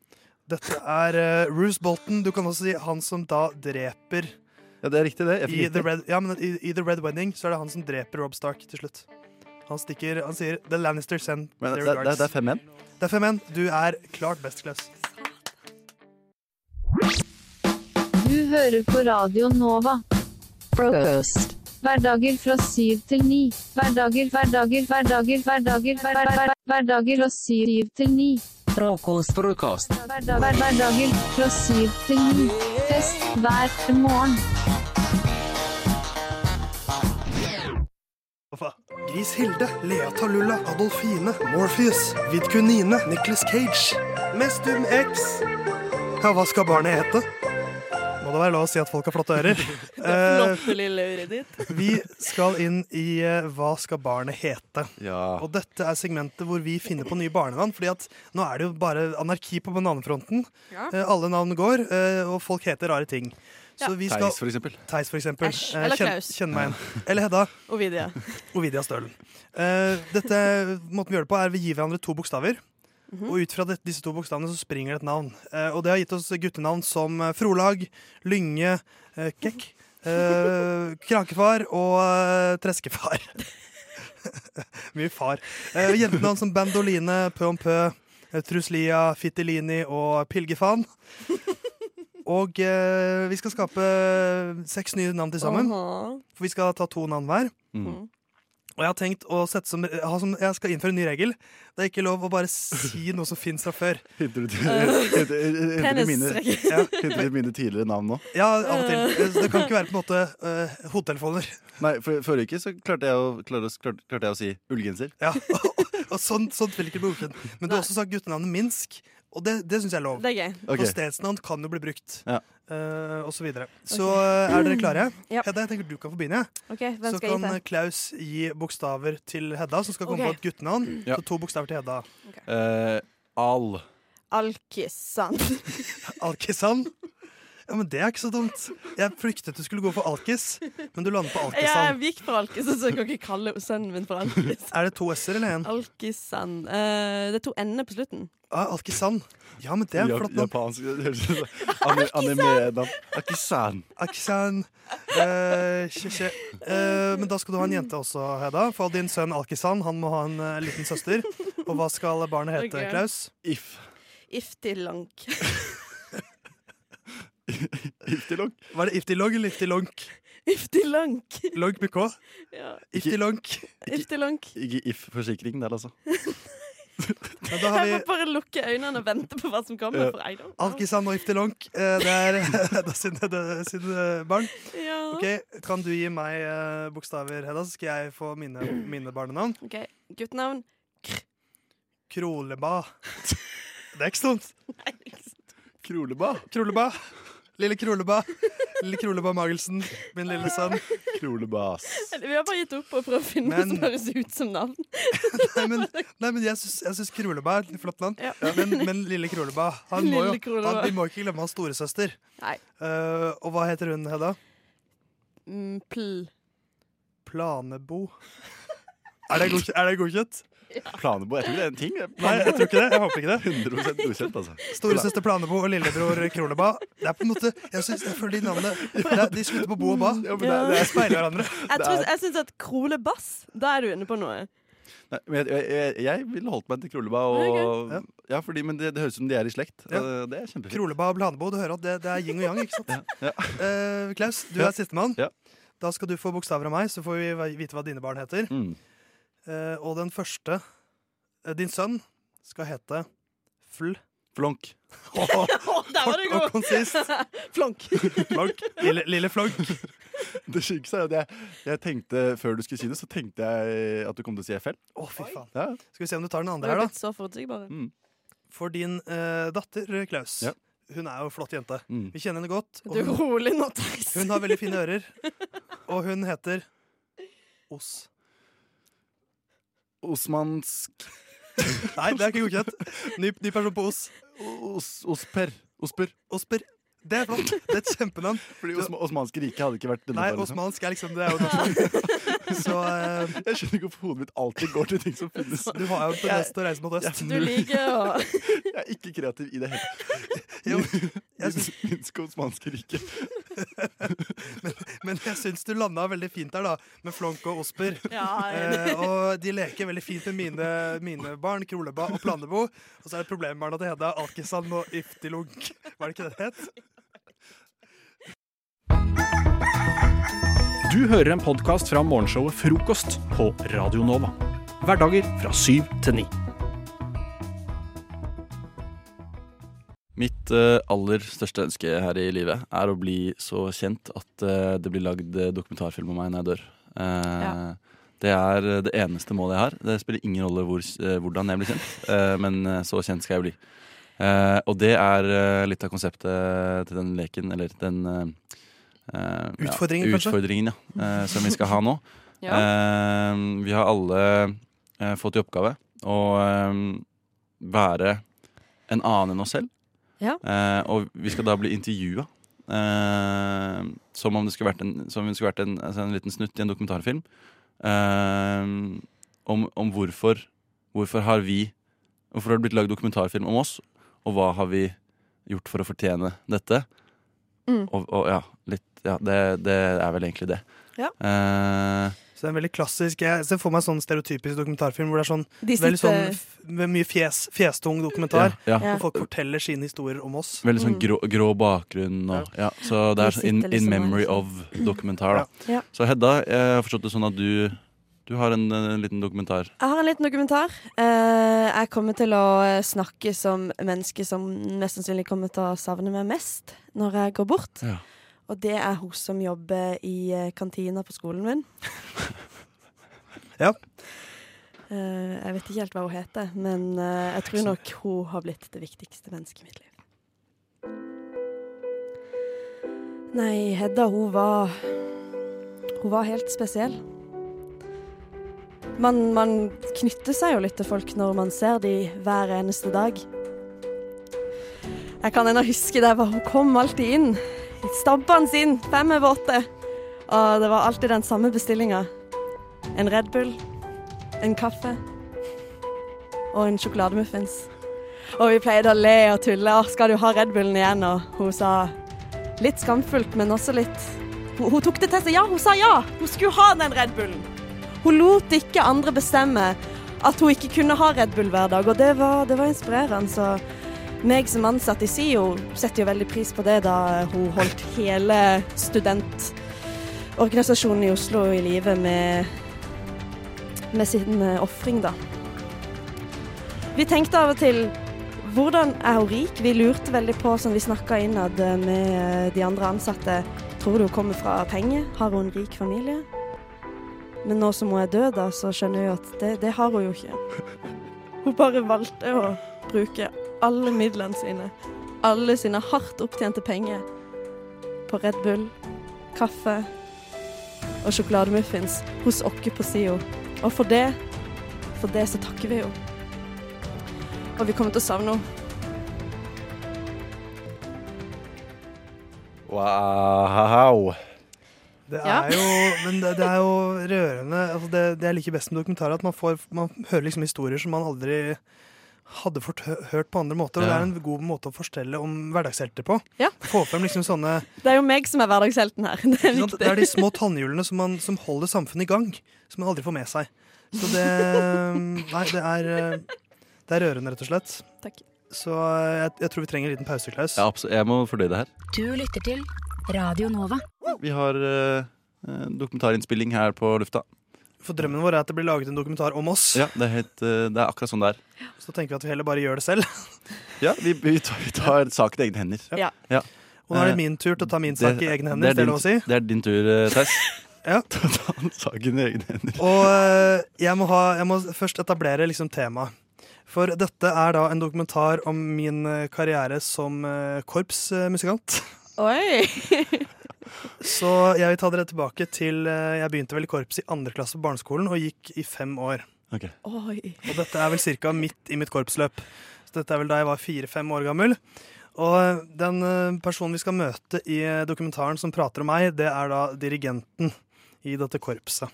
S11: Dette er uh, Bruce Bolton. Du kan også si han som da dreper
S1: Ja, det er riktig, det. Jeg fikk
S11: I The,
S1: riktig.
S11: Red, ja, men i, I The Red Wedding så er det han som dreper Rob Stark til slutt. Han stikker, han sier The Lannister send
S1: Men
S11: their
S1: det- det-
S11: regards.
S1: det er 5-1.
S11: Det er 5-1. Du er klart best, Klaus.
S18: Du hører på Radio Nova. Frokost. Hverdager fra syv til ni. Hverdager, hverdager, hverdager, hverdager, hver- hver- hver- hverdager og syv til ni.
S7: Frokost, frokost.
S18: Hverdag- hver- Hverdager fra syv til ni. Fest hver morgen.
S11: Gris Hilde, Lea Talulla, Adolfine, Morpheus, Vidkunine, Nicholas Cage, Mestum X. Ja, hva skal barnet hete? Må det være lov å si at folk har flotte ører?
S6: Flotte lille øret ditt.
S11: Eh, vi skal inn i eh, Hva skal barnet hete? Og dette er segmentet hvor vi finner på nye barnenavn. Fordi at nå er det jo bare anarki på bananfronten.
S6: Ja.
S11: Eh, alle navn går, eh, og folk heter rare ting. Så
S6: Ja.
S11: vi skal-
S1: Theis, for eksempel.
S11: Theis, for eksempel.
S6: Æsj.
S11: Eh,
S6: Eller
S11: kjenn-
S6: Klaus.
S11: Kjenn meg igjen. Eller Hedda.
S6: Ovidia.
S11: Ovidia Stølen. Eh, dette, måten vi gjør det på, er vi gir hverandre to bokstaver.
S6: Mhm.
S11: Og ut fra det, disse to bokstavene så springer det et navn. Eh, og det har gitt oss guttenavn som eh, Frolag, Lynge, eh, Kekk, eh, Krakefar og eh, Treskefar. Mye far. Eh, jentenavn som Bandoline, Pø-om-pø, eh, Truslia, Fittilini og Pilgefan. Og eh, vi skal skape seks nye navn til sammen.
S6: Aha.
S11: For vi skal ta to navn hver.
S6: Mm.
S11: Og jeg har tenkt å sette som, eh, ha som Jeg skal innføre en ny regel. Det er ikke lov å bare si noe som fins fra før.
S1: Hinter du til- hinter- hinter du til mine-
S11: Ja.
S1: Hinter du til mine tidligere navn nå?
S11: ja, av og til. Så Det kan ikke være på en måte uh, hodetelefoner.
S1: Nei, for, Forrige uke så klarte jeg, å, klarte, klarte, klarte jeg å si ullgenser.
S11: Ja. Og sånt, sånt vil ikke bli godkjent. Men du har også sagt guttenavnet Minsk, og det, det syns jeg er lov.
S6: Det er gøy.
S11: For
S1: Ok.
S11: stedsnavn kan jo bli brukt.
S1: Ja.
S11: eh, og så videre. Så
S6: Ok.
S11: eh, er dere klare?
S6: Ja.
S11: Hedda, jeg tenker du kan få begynne. jeg.
S6: Ok, hvem
S11: så
S6: skal jeg
S11: kan
S6: gi
S11: eh, Klaus gi bokstaver til Hedda, som skal komme
S6: Ok.
S11: på et guttenavn.
S1: Ja.
S11: Så to bokstaver til Hedda.
S1: Eh, al.
S6: Alkissand.
S11: Alkisand. Ja, men Det er ikke så dumt. Jeg fryktet du skulle gå for alkis, men du landet på
S6: Jeg
S11: alkisand.
S6: gikk for alkissand, så jeg kan ikke kalle sønnen min for alkissand.
S11: Er det to s-er eller én?
S6: Alkissand. Eh, det er to n-er på slutten.
S11: Ah, alkisand. Ja, men det er
S1: Ja-
S11: flott navn.
S1: Japansk det høres ut som ani- anime-navn. Akisan.
S11: Alkisand. Eh, kje, kje. Eh, men da skal du ha en jente også, Hedda. For din sønn Alkisand han må ha en eh, liten søster. Og hva skal barnet hete,
S6: Ok.
S11: Klaus?
S1: If.
S6: Iftilank.
S1: Iftilong.
S11: Var det iftilong eller iftilonk?
S6: Iftilank.
S11: Lonk med k?
S6: Ja.
S11: Iftilonk.
S6: Iftilank.
S1: Ikke if-forsikring der, altså.
S11: Men da har vi
S6: Jeg må bare lukke øynene og vente på hva som kommer.
S1: Ja.
S6: For I don't know.
S11: Alkisand og iftilonk. Eh, det er Hedda sine, det- sine barn.
S6: Ja.
S11: Ok, Kan du gi meg eh, bokstaver, Hedda, så skal jeg få mine, mine barnenavn?
S6: Ok, Guttenavn.
S11: Kroleba. Det er ikke så dumt.
S1: Kroleba.
S11: Kroleba. Lille Kroleba. Lille Kroleba Magelsen, min lille sønn.
S1: Krolebas.
S6: Vi har bare gitt opp og prøvd å finne noe
S11: Men-
S6: som høres ut som navn.
S11: Nei, men, nei, men jeg syns, jeg syns Kroleba er et litt flott navn. Men, men lille Kroleba han må jo,
S6: Lille Kroleba.
S11: han, Vi må ikke glemme hans storesøster.
S6: Nei.
S11: Eh, og hva heter hun, Hedda?
S6: Mm, pl.
S11: Planebo. Er det, godkjent, er det godkjent?
S1: Planebo. Jeg tror ikke det er en ting.
S11: Nei, jeg tror ikke det. Jeg håper ikke det.
S1: 100 godkjent, altså.
S11: Storesøster Planebo og lillebror Kroleba. Det er på en måte, jeg synes, jeg føler de navnene det er- De slutter på bo og ba.
S1: men det er- det er-
S11: De speiler hverandre.
S6: Jeg, tror- jeg syns at krolebass, da er du inne på noe.
S1: Nei, men jeg, jeg, jeg, jeg ville holdt meg til Kroleba. Og, ja, fordi, men det, det høres ut som de er i slekt.
S11: Ja.
S1: og Det er kjempefint.
S11: Kroleba og Planebo, du hører at det, det er yin og yang, ikke sant? Eh, Klaus, du
S1: Ja.
S11: er sistemann.
S1: Ja.
S11: Da skal du få bokstaver av meg, så får vi vite hva dine barn heter.
S1: Mm.
S11: Eh, og den første, eh, din sønn, skal hete Fl.
S1: Flonk.
S6: Der var du
S11: Kort og
S6: god!
S11: konsist.
S6: Flonk.
S11: Flonk. Lille, lille flonk.
S1: Det sykeste er at jeg, jeg tenkte før du skulle si det, så tenkte jeg at du kom til å si FL.
S11: Å, fy faen.
S1: Ja.
S11: Skal vi se om du tar den
S6: Vi
S11: andre
S6: har
S11: her,
S6: blitt
S11: da.
S6: så forutsigbare.
S11: For din eh, datter, Klaus,
S1: Mm. Ja.
S11: Hun er jo en flott jente.
S1: Mm.
S11: Vi kjenner henne godt. og
S6: Du er
S11: hun-
S6: rolig nå, Theis.
S11: Hun har veldig fine ører. Og hun heter Os.
S1: Osmansk
S11: Nei, det er ikke godkjent. Ny, ny person på Os.
S1: Os, osper. Osper.
S11: Osper. Det er flott. Det er et kjempenavn.
S1: Fordi Osma Osmanske riket hadde ikke vært denne
S11: Nei,
S1: bare, liksom.
S11: osmansk er liksom Det er jo nasjonalt. Så eh,
S1: Jeg skjønner ikke hvorfor hodet mitt alltid går til ting som finnes.
S11: Du har jo en tendens til å reise mot øst.
S1: Jeg-
S11: Du liker å-
S1: Jeg er ikke kreativ i det hele tatt. Minsk osmanske rike.
S11: Men jeg syns du landa veldig fint der, da, med Flonk og Osper.
S1: Ja, jeg er
S11: eh,
S1: enig.
S11: og de leker veldig fint med mine, mine barn, Kroleba og Planebo. Og så er det problembarna til Hedda, Alkisan og Iftilunk. Var det ikke det det het?
S16: Du hører en podkast fra morgenshowet Frokost på Radio Nova. Hverdager fra syv til ni.
S1: Mitt eh, aller største ønske her i livet er å bli så kjent at eh, det blir lagd eh, dokumentarfilm om meg når jeg dør. Eh, Det er eh, det eneste målet jeg har. Det spiller ingen rolle hvor, eh, hvordan jeg blir kjent, eh, men eh, så kjent skal jeg bli. Eh, og det er eh, litt av konseptet til den leken, eller den eh, eh, ja,
S11: Utfordringen, kanskje?
S1: Utfordringen, ja. eh, som vi skal ha nå.
S11: Ja.
S1: Eh, vi har alle eh, fått i oppgave å eh, være en annen enn oss selv.
S6: Ja.
S1: Eh, og vi skal da bli intervjua. Eh, som om det skulle vært en, som om det skulle vært en, altså en liten snutt i en dokumentarfilm. Eh, om om hvorfor, hvorfor har vi Hvorfor har det blitt lagd dokumentarfilm om oss, og hva har vi gjort for å fortjene dette?
S6: Mm.
S1: Og, og ja, litt Ja, det, det er vel egentlig det.
S6: Ja.
S1: Eh,
S11: Så det er en veldig klassisk Jeg ser for meg en sånn stereotypisk dokumentarfilm hvor det er sånn,
S6: De
S11: veldig sånn
S6: sitter-
S11: f- med mye fjes, fjestung dokumentar.
S1: Ja, ja.
S11: Og folk forteller sine historier om oss.
S1: Veldig sånn grå, grå bakgrunn og ja. Så det
S11: Vi
S1: er sånn in,
S11: Mm. sitter
S1: in
S11: liksom her,
S1: memory
S11: liksom.
S1: of-dokumentar, da.
S6: Ja. Ja.
S1: Så Hedda, jeg har forstått det sånn at du Du har en, eh, liten dokumentar.
S6: Jeg har en liten dokumentar. Eh, jeg kommer til å eh, snakke som menneske som mest sannsynlig kommer til å savne meg mest når jeg går bort.
S1: Ja.
S6: Og det er hun som jobber i eh, kantina på skolen min.
S11: Ja.
S6: Eh, jeg vet ikke helt hva hun heter, men eh, jeg tror nok hun har blitt det viktigste mennesket i mitt liv. Nei, Hedda, hun var Hun var helt spesiell. Man, man knytter seg jo litt til folk når man ser de hver eneste dag. Jeg kan ennå huske det, var- hun kom alltid inn. Stabbene sin, fem over åtte. Og det var alltid den samme bestillinga. En Red Bull, en kaffe og en sjokolademuffins. Og vi pleide å le og tulle. «Å, 'Skal du ha Red Bullen igjen?' Og hun sa litt skamfullt, men også litt Hun, hun tok det til seg. Ja, hun sa ja! Hun skulle ha den Red Bullen. Hun lot ikke andre bestemme at hun ikke kunne ha Red Bull hver dag, og det var, det var inspirerende. Så meg som ansatt i SIO setter jo veldig pris på det, da hun holdt hele studentorganisasjonen i Oslo i live med, med sin eh, ofring, da. Vi tenkte av og til hvordan er hun rik? Vi lurte veldig på, som vi snakka innad eh, med eh, de andre ansatte, tror du hun kommer fra penger? Har hun en rik familie? Men nå som hun er død, da, så skjønner jeg jo at det, det har hun jo ikke. Hun bare valgte å bruke alle midlene sine, alle sine hardt opptjente penger, på Red Bull, kaffe og sjokolademuffins hos oss på SIO. Og for det, for det så takker vi henne. Og vi kommer til å savne henne.
S1: Wow.
S11: Det
S6: Ja.
S11: er jo, men det, det er jo rørende. Altså det, det jeg liker best med dokumentarer, at man, får, man hører liksom historier som man aldri hadde fått hø- hørt på andre måter. Og
S1: Ja.
S11: det er en god måte å fortelle om hverdagshelter på. Få frem liksom sånne
S6: Det er jo meg som er hverdagshelten her. Det er
S11: ikke sant?
S6: viktig.
S11: Det er de små tannhjulene som, man, som holder samfunnet i gang, som man aldri får med seg. Så det Nei, det er, eh, det er rørende, rett og slett.
S6: Takk.
S11: Så eh, jeg, jeg tror vi trenger en liten pause, Klaus.
S1: Ja, absolutt. Jeg må fordøye det her.
S10: Du lytter til Radio Nova.
S1: Vi har eh, eh, dokumentarinnspilling her på lufta.
S11: For drømmen vår er at det blir laget en dokumentar om oss.
S1: Ja, det er, helt, eh, det er akkurat sånn det er.
S11: Så tenker vi at vi heller bare gjør det selv.
S1: Ja, vi, vi tar, vi tar saken i egne hender.
S11: Ja. Og nå er det min tur til å ta min
S1: Eh,
S11: sak i egne hender,
S1: det
S11: hvis det er
S1: er din-
S11: lov å si.
S1: Det er din tur, eh, Theis.
S11: Ja.
S1: Ta ta saken i egne hender.
S11: Og eh, jeg må, ha, jeg må først etablere liksom temaet. For dette er da en dokumentar om min eh, karriere som eh, korpsmusikant.
S6: Oi!
S11: Så jeg vil ta dere tilbake til eh, Jeg begynte vel i korps i andre klasse på barneskolen og gikk i fem år.
S6: Oi.
S11: Og dette er vel cirka midt i mitt korpsløp. Så dette er vel da jeg var fire-fem år gammel. Og den eh, personen vi skal møte i eh, dokumentaren som prater om meg, det er da dirigenten i dette korpset.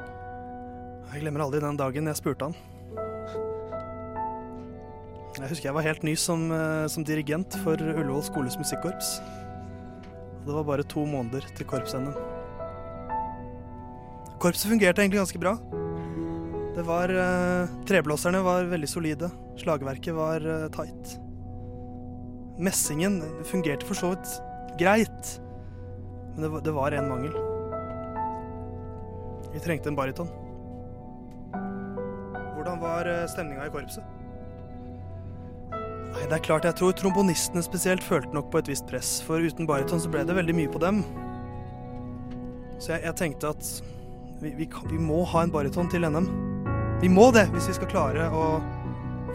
S11: Jeg glemmer aldri den dagen jeg spurte han. Jeg husker jeg var helt ny som, eh, som dirigent for Ullevål skoles musikkorps. Og det var bare to måneder til korps-NM. Korpset fungerte egentlig ganske bra. Det var eh, Treblåserne var veldig solide. Slagverket var eh, tight. Messingen fungerte for så vidt greit, men det var, det var en mangel. Vi trengte en baryton. Hvordan var stemninga i korpset? Nei, det er klart, jeg tror trombonistene spesielt følte nok på et visst press, for uten baryton så ble det veldig mye på dem. Så jeg, jeg tenkte at vi, vi, kan, vi må ha en baryton til NM. Vi må det hvis vi skal klare å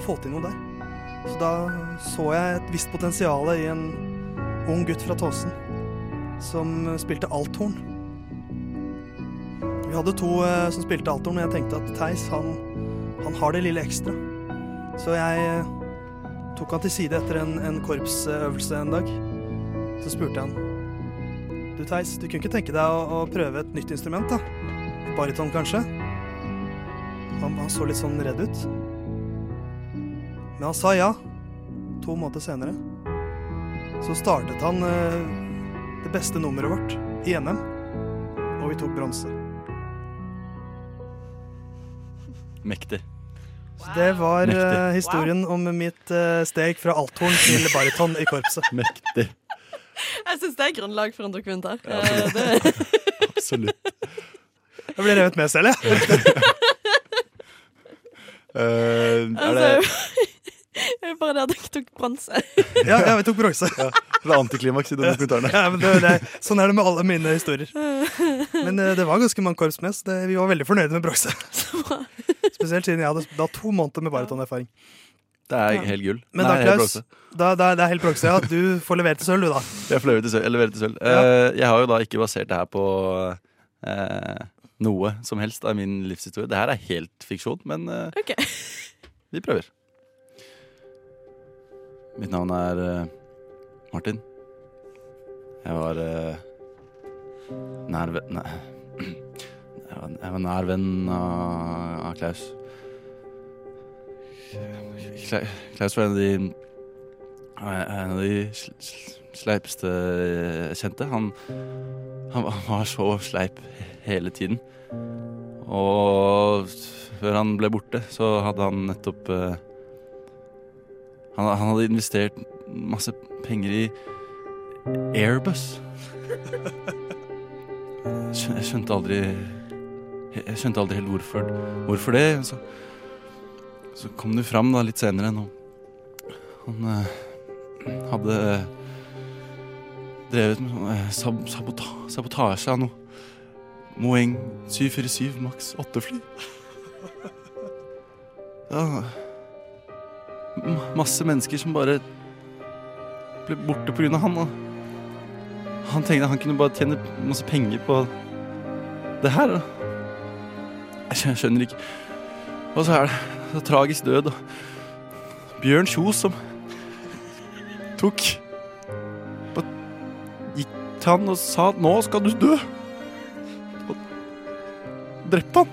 S11: få til noe der. Så da så jeg et visst potensial i en ung gutt fra Tåsen som spilte althorn. Vi hadde to eh, som spilte althorn, men jeg tenkte at Theis, han, han har det lille ekstra. Så jeg eh, tok han til side etter en, en korpsøvelse en dag. Så spurte jeg han. Du Theis, du kunne ikke tenke deg å, å prøve et nytt instrument, da? Baryton, kanskje? Han, han så litt sånn redd ut. Men han sa ja. To måneder senere så startet han eh, det beste nummeret vårt i NM, og vi tok bronse.
S1: Mektig.
S11: Så det var eh,
S1: Mektig.
S11: historien om mitt eh, steg fra althorn til baryton i korpset.
S1: Mektig.
S6: Jeg syns det er grunnlag for en dokumentar.
S11: Ja,
S6: Eh, det-
S1: Absolutt.
S11: Jeg ble revet med selv, jeg. Eh,
S6: Altså, jeg bare det at jeg tok bronse.
S11: Ja, ja, vi tok bronse.
S1: Det er antiklimaks i dokumentarene.
S11: Ja, men det, det, sånn er det med alle mine historier. Men eh, det var ganske mange korps med, så det, vi var veldig fornøyde med bronse. Spesielt siden jeg hadde da to måneder med baritonerfaring.
S1: Det er helt gull.
S11: Men
S1: Nei,
S11: da,
S1: helt
S11: Klaus,
S1: bronse.
S11: da, da, det er helt bronse. Ja. Du får levert til sølv, du, da.
S1: Jeg fløy til sølv. Jeg leverer til sølv. Eh, Jeg har jo da ikke basert det her på eh, noe som helst av min livshistorie. Det her er helt fiksjon, men eh, vi prøver. Mitt navn er eh, Martin. Jeg var eh, nær venn Nei. Jeg var, jeg var nær venn av, av Klaus. Kla- Klaus var en av de han er en av de sl- sl- sleipeste jeg kjente. Han, han var- var så sleip hele tiden. Og før han ble borte, så hadde han nettopp eh, han, han hadde investert masse penger i Airbus. Skjø- Jeg skjønte aldri Jeg skjønte aldri helt hvorfor, hvorfor det. Så, så kom det fram da litt senere. Nå. Han eh, hadde eh, drevet med sånn, eh, sab sabota sabotasje av noe. Moeng 747 maks 8-fly. Ja m- Masse mennesker som bare ble borte pga. han. Og han tenkte han kunne bare tjene masse penger på det her. da. Jeg skjø- skjønner ikke. Og så er det så tragisk død. Og Bjørn Kjos som tok Bare gikk til han og sa at 'nå skal du dø'. Og drepte han.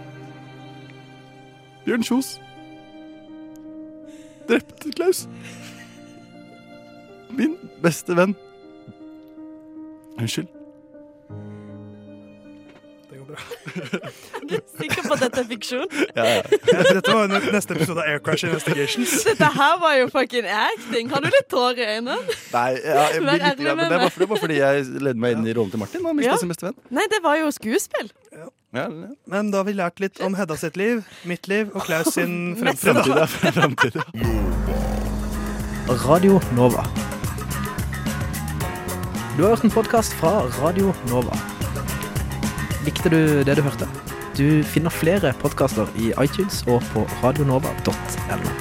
S1: Bjørn Kjos drepte Klaus. Min beste venn. Unnskyld.
S11: Det går bra.
S6: Du er sikker på at dette er fiksjon?
S1: Ja, ja.
S11: Dette var ne- neste episode av Air Crash Investigations.
S6: Dette her var jo fucking acting. Har du litt tårer i øynene?
S1: Nei, ja, jeg,
S6: Vær
S1: blir litt,
S6: ærlig
S1: grann,
S6: med
S1: men det, var,
S6: meg.
S1: for- det var fordi jeg ledde meg inn i rollen til Martin. Han mista
S6: Ja.
S1: sin beste venn.
S6: Nei, det var jo skuespill.
S1: Ja, ja.
S11: Men da har vi lært litt om Hedda sitt liv, mitt liv og Klaus sin
S6: Neste
S11: Mm, fremtid.
S6: da.
S1: Fremtid,
S7: Radio Nova. Du har hørt en podkast fra Radio Nova. Likte du det du hørte? Du finner flere podkaster i iTunes og på radionova.no.